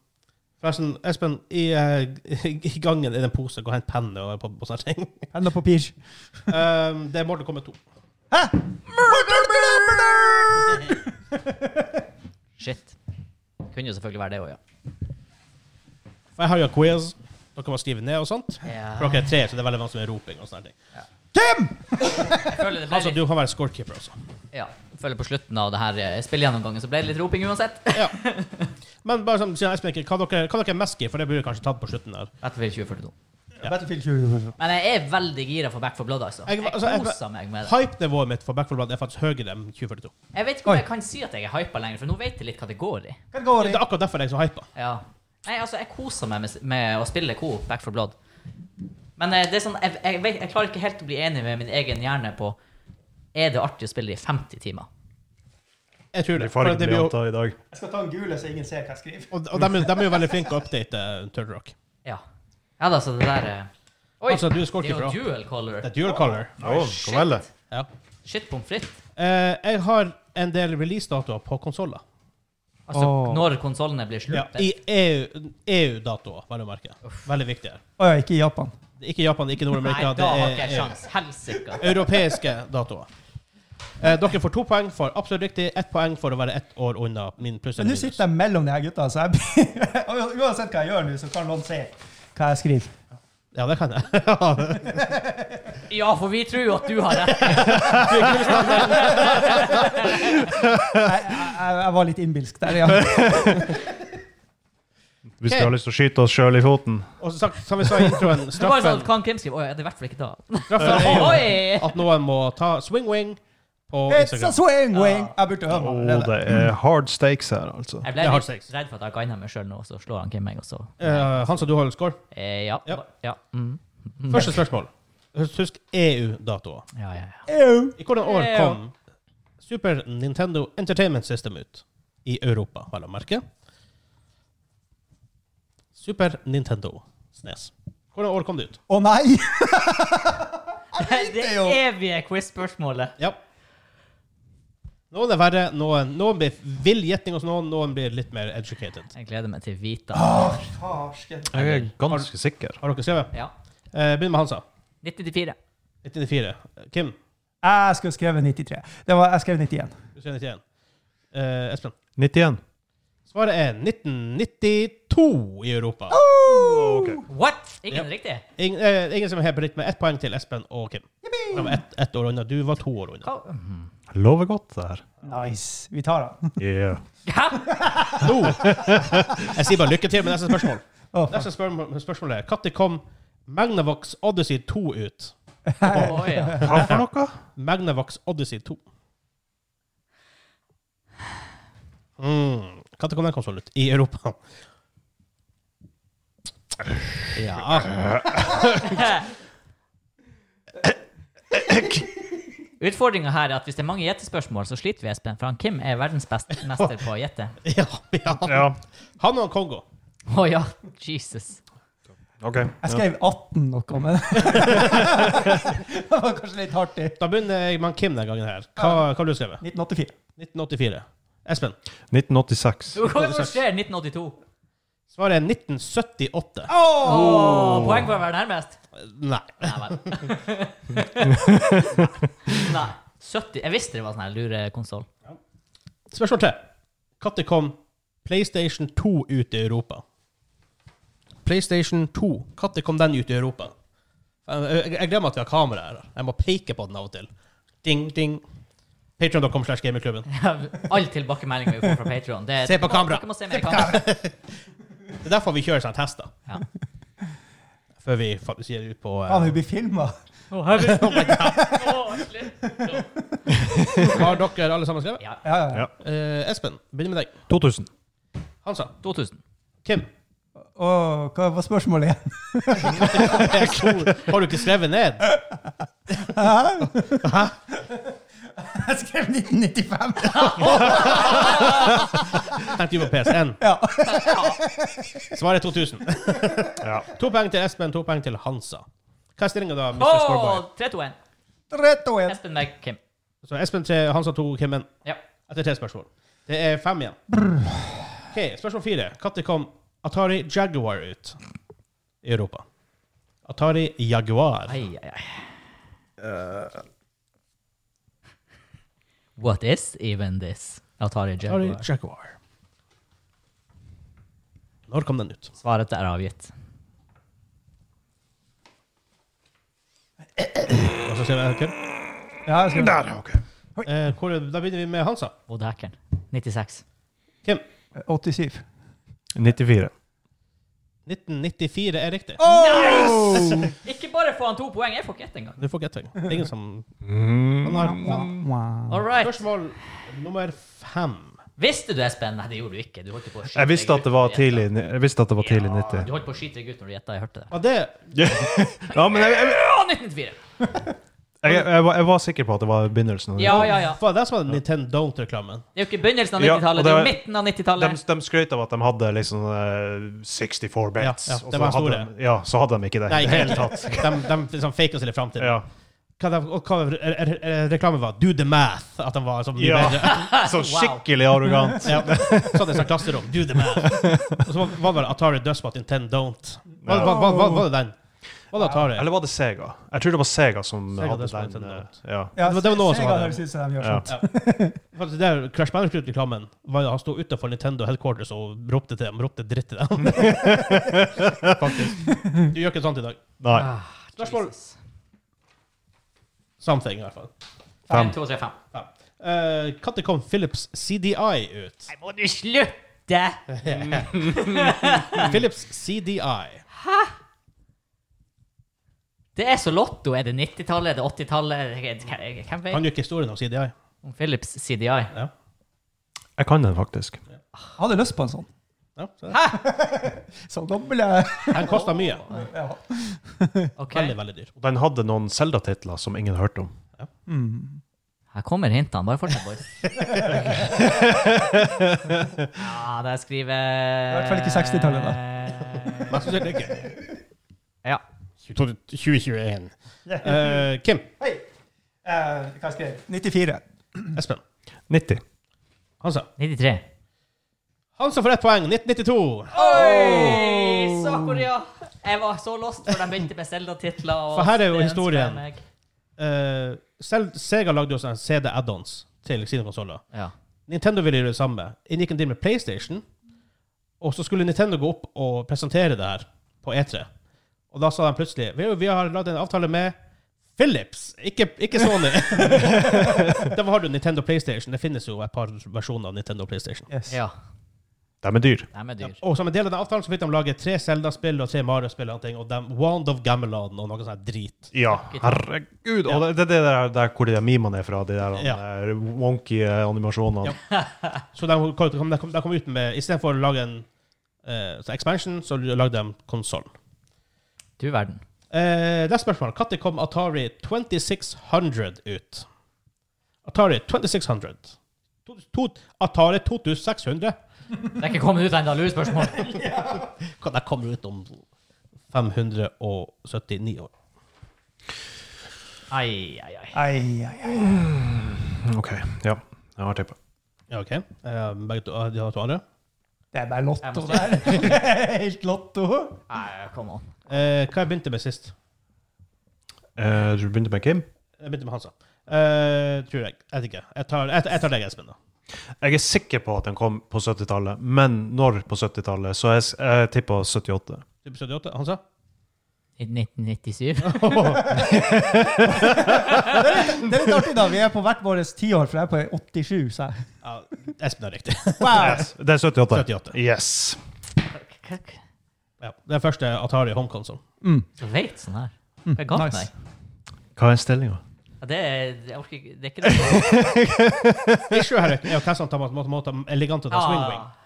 forresten, Espen, i, eh, i gangen er det en pose. Gå og hent penne og, på, på sånne ting.
Penn og papir.
Um, det er Morten kommet to.
Hæ? Murder, murder, murder!
Shit. Kunne jo selvfølgelig være det òg, ja.
For jeg har jo en quiz. Dere må skrive ned og sånt.
Ja.
For dere er tre, så det er veldig vanskelig med roping og sånne ting.
Kim!
Jeg føler det ble
Altså,
litt-
du kan være scorekeeper også.
Ja, jeg føler på slutten av det her eh, spillegjennomgangen så ble det litt roping uansett.
Ja. Men bare sånn, siden Espen ikke hva dere, hva dere er mest i, for det burde kanskje tatt på slutten her.
Battlefield 2042.
Battlefield 2042.
Men jeg er veldig gira for Back for Blood, altså.
Jeg-
Jeg,
altså, jeg-
koser meg med det.
Hype-nivået mitt for Back 4 Blood er faktisk høyere enn 2042.
Jeg vet ikke om
Oi.
jeg kan si at jeg er hypa lenger, for nå vet jeg litt hva det går i.
Hva går
Det
i?
er akkurat derfor jeg er så hypa.
Ja. Nei, altså, jeg koser meg med, med å spille coop Back for Blood. Men eh, det er sånn, jeg, jeg, vet, jeg klarer ikke helt å bli enig med min egen hjerne på Er det artig å spille i 50 timer?
Jeg tror
De
det. For det blir jo,
fargeblyanter i dag.
Jeg skal ta en gule, så ingen ser hva jeg skriver.
og og de, er- de er jo veldig flinke å update uh, Turtle Rock.
Ja. Ja da, så det der eh, Oi!
Altså, du er
det er
scorekeeper
jo
også.
dual color.
Det er dual color.
Å, kom vel, det.
Ja.
Shit pommes frites.
Eh, jeg har en del releasedatoer på konsoller.
Altså,
Åh.
når konsollene blir
Ja,
sluppet.
I E EU- EU-datoer, vel å merke. Veldig viktig her.
Å ja, ikke i Japan.
Det er Ikke Japan, det er ikke
Nei,
Nord-Amerika.
da har ikke
Det
jeg
er EU.
sjans. Helsike.
Europeiske datoer. Eh, dere får to poeng for absolutt riktig, ett poeng for å være ett år unna min pluss
Men
eller
nå
minus.
sitter jeg mellom de her gutta, så jeg blir- Og Uansett hva jeg gjør nå, så kan noen se hva jeg skriver.
Ja, det kan jeg. Ja.
Ja, for vi tror jo at du har rett.
Jeg, jeg, jeg var litt innbilsk der, ja.
Hvis
Ok.
vi har lyst til å skyte oss sjøl i foten.
Og som sagt, som vi sa i introen,
Det var sånn,
straffen,
kan Kim skrive? Oi, det er i hvert fall ikke da.
straffen er jo
Oi!
at noen må ta swing-wing på
It's a
Instagram.
swing wing! Jeg burde
Å,
øve meg allerede.
det er hard stakes her, altså.
Jeg
Jeg
ble
har
litt
sex.
redd for at jeg gagna meg sjøl nå, så slår han Kim meg også.
Eh, Hansa, du holder score.
Eh, ja.
Ja.
Ja. Mm.
Første spørsmål. Husk EU-datoer.
ja, ja, ja.
Ew.
I hvordan år
EU.
kom Super Nintendo Entertainment System ut? I Europa, vel å merke. Super Nintendo SNES. Hvordan år kom det ut?
Å nei!
Det
jo.
evige quiz-spørsmålet.
Ja. Noen er verre, noen, noen blir vill gjetning hos noen, noen blir litt mer educated.
Jeg gleder meg til Vita.
Farsken.
Jeg er ganske sikker.
Har dere skrevet?
Ja.
Eh, begynn med Hansa.
94.
1994. Kim,
Jeg skulle skrevet 93. Det var, jeg skrev 91.
du sier 91. Eh, Espen.
91.
Svaret er 1992 i Europa.
Ok.
What? Ikke
Ja.
riktig?
Ingen, eh, ingen som er helt på riktig med ett poeng til Espen og Kim. Jeg var ett ett år unna. Du var to år unna.
Hva? Mhm.
Lover godt, det her.
Nice. Vi tar han.
Yeah.
Hæ?
Nå! Jeg sier bare lykke til med neste spørsmål.
Å, fuck.
Neste spørsmål, spørsmål er Når kom Magnavox Odyssey 2 ut?
Å, ja.
Hva for noe?
Magnavox Odyssey 2. Mm. Når kom den konsollen ut? I Europa. Ja
Utfordringa her er at hvis det er mange gjettespørsmål, så sliter vi, Espen. For han Kim er verdens beste mester på å gjette.
Ja, ja.
Ja,
Han og han Kongo.
Å ja, Jesus.
OK.
Jeg skrev 18 noe, men Det var kanskje litt hardt i
Da begynner jeg med han Kim den gangen her. Hva, hva har du skrevet?
1984.
1984. Espen.
1986.
Hva skjer 1982?
Svaret er 1978.
Åh, Poeng for å være nærmest?
Nei.
Nei vel. Nei. 70 Jeg visste det var sånn her lurekonsoll.
Spørsmål tre. Når kom PlayStation 2 ut i Europa? PlayStation 2, når kom den ut i Europa? Jeg, jeg, jeg glemmer at vi har kamera her. Jeg må peke på den av og til. Ding, ding. Patreon.com slash gamingklubben.
Alle tilbakemeldinger vi får fra Patron.
Se på kamera.
Dere må se mer i kamera.
Det er derfor vi kjører sånne tester.
Ja.
Før vi faktisk gir det ut på
Faen,
eh,
hun blir filma.
Har dere alle sammen skrevet?
Ja.
Ja, ja.
Ja.
Eh, Espen, begynner med deg.
2000.
Hansa.
2000.
Kim.
Åh, hva var spørsmålet igjen?
Har du ikke skrevet ned?
Jeg skrev 1995.
Tenkte vi på PSN.
Ja.
Svaret er 2000.
Ja.
To poeng til Espen, to poeng til Hansa. Hva er stillinga da? Mr. Scoreboy?
Åh, 3-2-1.
Rett og igjen.
Espen meg, Kim.
Så Espen 3, Hansa 2, Kim 1.
Ja.
Etter tre spørsmål. Det er fem igjen. Ok, Spørsmål fire. Når kom Atari Jaguar ut i Europa? Atari Jaguar.
Ai, ai, ai. Eh. What is even this? Atari
Atari
Jaguar.
Jaguar. Når kom den ut?
Svaret er avgitt.
Og så ser vi, okay.
Ja, jeg skrev
Der, ja, OK.
eh, hvor, da begynner vi med Hansa.
Og dækeren. 96.
Kim.
87.
94.
1994 er riktig.
Nice! Ikke bare får han to poeng, jeg får ikke ett engang.
Du får ikke ett poeng. Det er Ingen som
Mm.
Han har fem.
Wow.
All right.
Spørsmål nummer fem.
Visste du, Espen? Nei, det gjorde du ikke. Du holdt på å skyte
Jeg visste at det var tidlig Jeg visste at det var tidlig
Ja,
90.
Du holdt på å skyte deg ut når du gjetta. Jeg hørte det.
Var det
Ja, men jeg, jeg,
Ja, 1994!
jeg, jeg, var, jeg var sikker på at det var begynnelsen. av det.
Ja, ja, ja.
var det som var Nintendo-reklamen?
Det er jo ikke begynnelsen av
Ja,
90-tallet, det er
og det
jo
var-
midten av
De,
90-tallet.
de skrøt av at de hadde liksom eh, 64 bits.
Ja, ja,
og
det
så
var
hadde
store.
de, ja, så hadde de ikke det.
Nei, i det hele tatt. De, de liksom faker oss litt fram til det.
Ja.
Hva, de, og hva re- re- re- reklamen var? Do the math! At den var så mye
Ja.
bedre.
Så
Wow.
skikkelig arrogant.
Ja. Sånn i sånn klasserom. Do the math! Og så var- var det Atari Dustbot in 10 don't. Var, var, var, var, var det den? Var det Atari?
Eller var det Sega? Jeg tror det var Sega som
Sega, det
hadde
som
den.
var
eh, Ja.
Ja,
Det var- det var noen som
Sega
hadde-
høres ut som de gjør
Ja.
sånt.
Faktisk, der Crash Bandicoot-reklamen var jo han sto utenfor Nintendo headquarters og ropte til dem. Ropte dritt til dem. Faktisk. Du gjør ikke sånt i dag.
Nei.
Ah,
Spørsmål.
Jesus.
Something, i hvert fall.
Fem.
En, to, tre, fem.
Ja. Eh, Når kom Philips CDI ut?
Nei, må du slutte!
Philips CDI.
Det er så lotto. Er det 90-tallet? Er det 80-tallet? Hvem
Han
vet?
gjør ikke historien om CDI.
Om Philips CDI.
Ja.
Jeg kan den faktisk.
Jeg hadde lyst på en sånn.
Ja, så det-
Så eh, dobbel jeg
den kosta mye.
ja.
Ok.
Veldig, veldig dyr.
Den hadde noen Zelda-titler som ingen hørte om.
Her kommer hintene. Bare fortsett, boys. ja, der skriver I
hvert fall ikke 60-tallet, da.
da.
Men jeg synes det er ikke.
Ja.
2021. Eh, Kim.
Hei! Eh, hva skrev jeg? 94.
Espen.
90.
Hansa.
93.
Hansa får ett poeng. 1992.
Oi! Sakoria! Jeg var så lost før de begynte med Zelda-titler. og
For her er jo
det ønsker
historien.
jeg meg.
Eh, selv Sega lagde jo sånne CD add-ons til sine konsoller.
Ja.
Nintendo ville gjøre det samme. Inngikk en deal med PlayStation. Og så skulle Nintendo gå opp E og presentere det her på E3. Og da sa de plutselig Vi, vi har lagd en avtale med Philips, ikke, ikke Sony. da har du Nintendo PlayStation. Det finnes jo et par versjoner av Nintendo PlayStation.
Yes.
Ja,
De er dyr.
de er dyr.
Og som en del av den avtalen så fikk de lage tre Zelda-spill og tre Mario-spill og ting, og dem Wand of Gamelan og noe sånt drit.
Ja, herregud. Og det det er det der, der hvor de der memene er fra, de der
Ja.
eh, wonky eh, animasjonene.
Ja. Så de kom, de kom, de kom ut med Istedenfor å lage en eh, så expansion, så lagde de konsollen.
Du verden.
Eh, det er spørsmålet. Når kom Atari 2600 ut? Atari 2600. To, to, Atari 2600?
Det er ikke kommet ut ennå, lurespørsmål.
Kan- Det kommer ut om 579 år.
Ai, ai, ai.
Ai, ai, ai.
OK. Ja. Jeg har tippa.
Ja, OK. Eh, begge to, de har to andre.
Det er bare
Jeg
lotto
må
der. Helt lotto.
Nei, come on.
Eh, hva jeg begynte med sist?
Eh, du begynte med Kim?
Jeg begynte med Hansa. Eh, tror jeg. Jeg vet ikke. Jeg tar, jeg, jeg tar deg, Espen. da.
Jeg er sikker på at den kom på 70-tallet, men når på 70-tallet? Så jeg, s- jeg tippa 78.
Type 78. Hansa?
1997.
Det er litt artig, da. Vi er på hvert vårt tiår, for jeg er på 87, sa jeg.
Ja, Espen har riktig.
Wow.
Det er 78.
78.
Yes.
Ja, det er første Atari home console.
Du vet sånn her. Det er galt,
nice.
nei.
Hva er stillinga?
Ja, det er, jeg orker ikke, det er ikke det.
Issue her er sånn, jo hva som tar på en måte- måte elegant å ta swing wing.
Ah.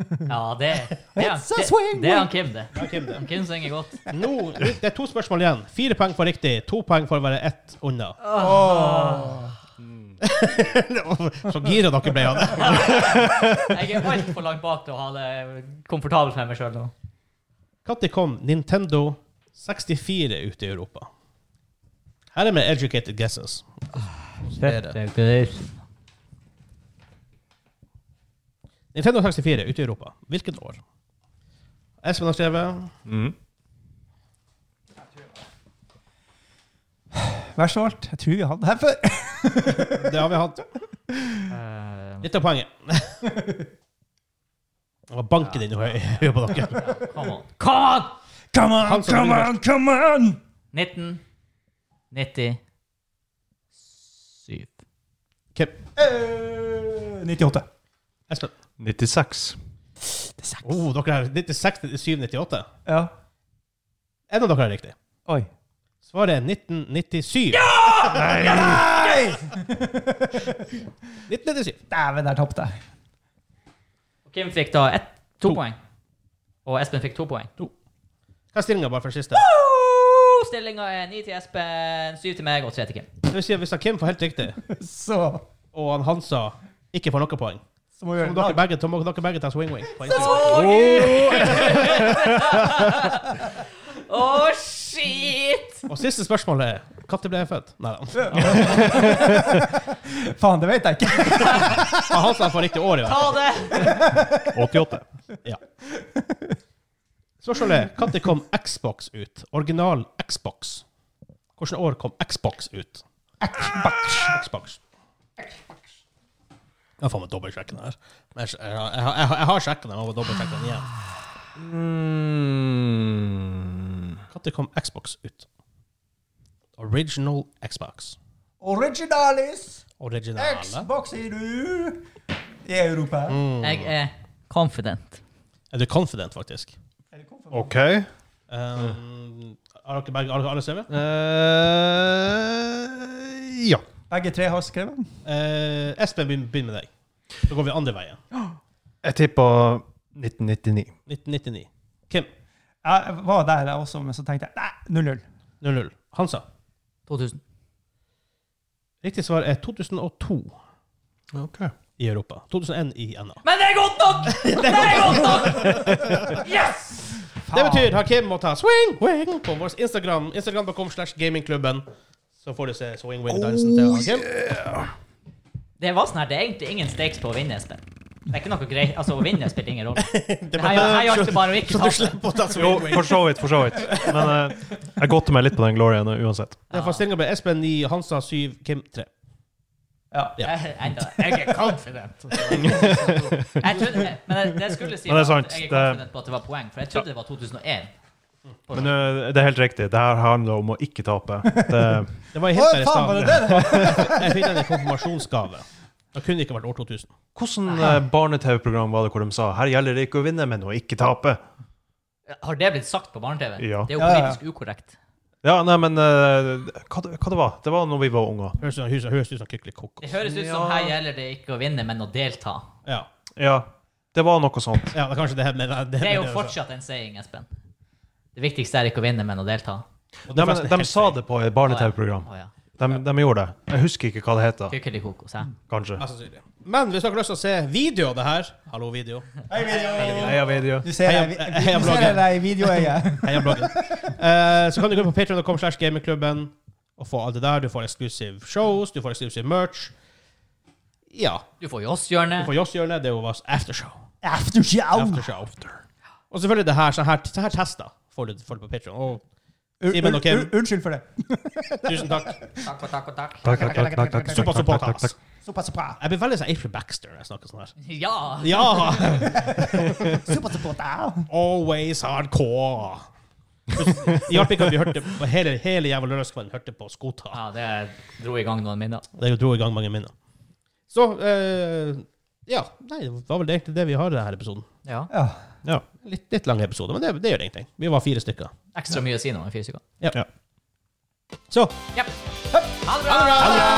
Ja, det, det, er,
It's a
det,
swing
det er
wing.
han Kim, det.
Ja, Kim, det.
Han Kim synger godt.
Nå, det er to spørsmål igjen. Fire poeng for riktig, to poeng for å være ett unna. Så gira dere ble av det.
Jeg er altfor langt bak til å ha det komfortabelt med meg sjøl nå.
Når kom Nintendo 64 ut i Europa? Her er med educated guesses. Nintendo 64 ute i Europa. Hvilket år? Espen har skrevet
Mm.
Vær så alt. Jeg tror vi hadde det her før.
Det har vi hatt.
Eh,
Litt av poenget. Det var banken din i høy- i høyet på dere.
come on. Come on!
Come on,
Han som
come
blir
on, come on!
1997.
Kim.
Eh, 98.
Espen.
96.
Oh, dere har 96 97 98.
Ja.
En av dere har riktig.
Oi.
Svaret er 1997.
Nei!
1997.
Dæven, der tapte jeg.
Kim fikk da ett, to, poeng. Og Espen fikk to poeng.
Hva er stillinga bare for siste?
Stillinga er ni til Espen, syv til meg og tre til Kim.
Det vil si at hvis han Kim får helt riktig,
Så
og han Hansa ikke får noe poeng,
Så må vi
så
gjøre
må
det.
dere begge, så må dere begge ta swing-wing.
Å, shit!
Og siste spørsmål er når ble jeg født? Nei da.
Faen, det vet jeg ikke.
Han Hansa får riktig år i hvert
Ta det!
88.
fall. Ja. Spørsmålet er når kom Xbox ut? Original Xbox. Hvilket år kom Xbox ut? Xbox. Xbox. Jeg har faen meg dobbeltsjekket den her. Men Jeg, jeg, jeg, jeg, jeg har sjekket den, jeg må dobbeltsjekke den igjen. Når kom Xbox ut? Original Xbox.
Originalis
Originale.
Xbox, sier du. Mm. I Europa.
Jeg er confident.
Er du confident, faktisk?
Er det komfort?
OK.
Um, har dere begge har dere alle skrevet?
Eh, ja.
Begge tre har skrevet.
Eh, Espen, begynn begynn med deg. Da går vi andre veien.
Jeg tippa 1999.
1999. Kim
Jeg var der, jeg også, men så tenkte jeg nei, 0-0.
00. Hansa.
2000.
Riktig svar er 2002
Okay.
i Europa. 2001 i NA.
Men det er godt nok! Det er godt nok! Yes!
Det betyr at Kim må ta swing wing på vår Instagram. Instagram.com slash gamingklubben. Så får du se swing wing-dansen til han Kim.
Det var sånn her, det er egentlig ingen stakes på å vinne, Espen. Det er ikke noe greit. Altså, å vinne spiller ingen rolle.
Det
Her her gjaldt det bare å ikke
Så du
tape.
slipper å ta
Jo,
swing wing.
for så vidt, for så vidt. Men eh, jeg godter meg litt på den glorien eh, uansett.
Derfor stillinga ble Espen 9, Hansa 7, Kim 3.
Jeg er enda- jeg er confident. Jeg trodde, men jeg, det skulle si var
Men det er
at
sant,
Jeg er
det-
confident på at det var poeng, for jeg trodde det var 2001.
Men eh, det er helt riktig. Det her handler om å ikke tape. Det,
Det var
Å,
helt der i
faen, var
stand.
det det det var?
Jeg fikk den i konfirmasjonsgave. Det kunne ikke vært år 2000.
hvordan eh, barne-TV-program var det hvor de sa her gjelder det ikke å vinne, men å ikke tape?
Har det blitt sagt på barne-TV?
Ja.
Det er jo
Ja, ja, ja.
politisk ukorrekt.
Ja, nei, men eh, hva, det- hva det var det? var når vi var unger.
Høres ut som- høres- høres ut som Kykeli Kokos.
Det høres ut som
Ja.
her gjelder det ikke å vinne, men å delta.
Ja.
Ja, det var noe sånt.
ja, det er kanskje det her med det,
Det er jo
med det, altså.
fortsatt en saying, Espen. Det viktigste er ikke å vinne, men å delta.
Og
De,
er faktisk
de,
helt
sa
feil.
det på et barne-TV-program.
Å ja.
De, de gjorde det. Jeg husker ikke hva det heter.
Kukkeli kokos, hæ?
Kanskje.
Mest sannsynlig. Men hvis dere har lyst til å se video av det her Hallo, video.
Hei, video.
Heia video.
Du ser deg
Heia-
i
heia bloggen.
videoøyet.
Heia bloggen. Eh, så kan du gå inn på patreon.com slash gamingklubben og få alt det der. Du får exclusive shows, du får exclusive merch. Ja.
Du får jo oss, Hjørne.
Du får Joss-hjørnet. Det er jo vårt aftershow.
Aftershow!
Aftershow. Og selvfølgelig det her. Sånne her, sånne her tester får du, får du på Patreon. Og
Un-
Simen
un-
og Kim.
un- Unnskyld for det.
tusen takk.
Takk og takk og takk.
Takk, takk, takk, takk, takk,
Såpass
takk,
og
takk, takk,
påtas.
takk.
Super, super.
Jeg blir veldig sånn April Baxter når jeg snakker sånn her.
Ja!
Ja!
Super, super. da.
Always hardcore. Det hjalp ikke at vi hørte på hele, hele jævla lørdagskvelden hørte på Skota.
ja det dro i gang noen minner.
Det dro i gang mange minner. Så eh, Ja. Nei, det var vel egentlig det vi har i denne episoden.
Ja.
Ja.
Ja.
Litt, litt lang episode, men det, det gjør ingenting. Vi var fire stykker.
Ekstra mye å si nå i fire sekunder.
Så
Ja. Ha det bra!
Ha det bra!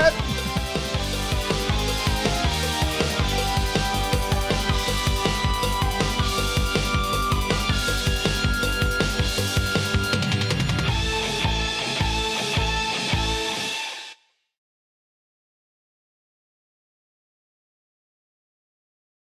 Hei!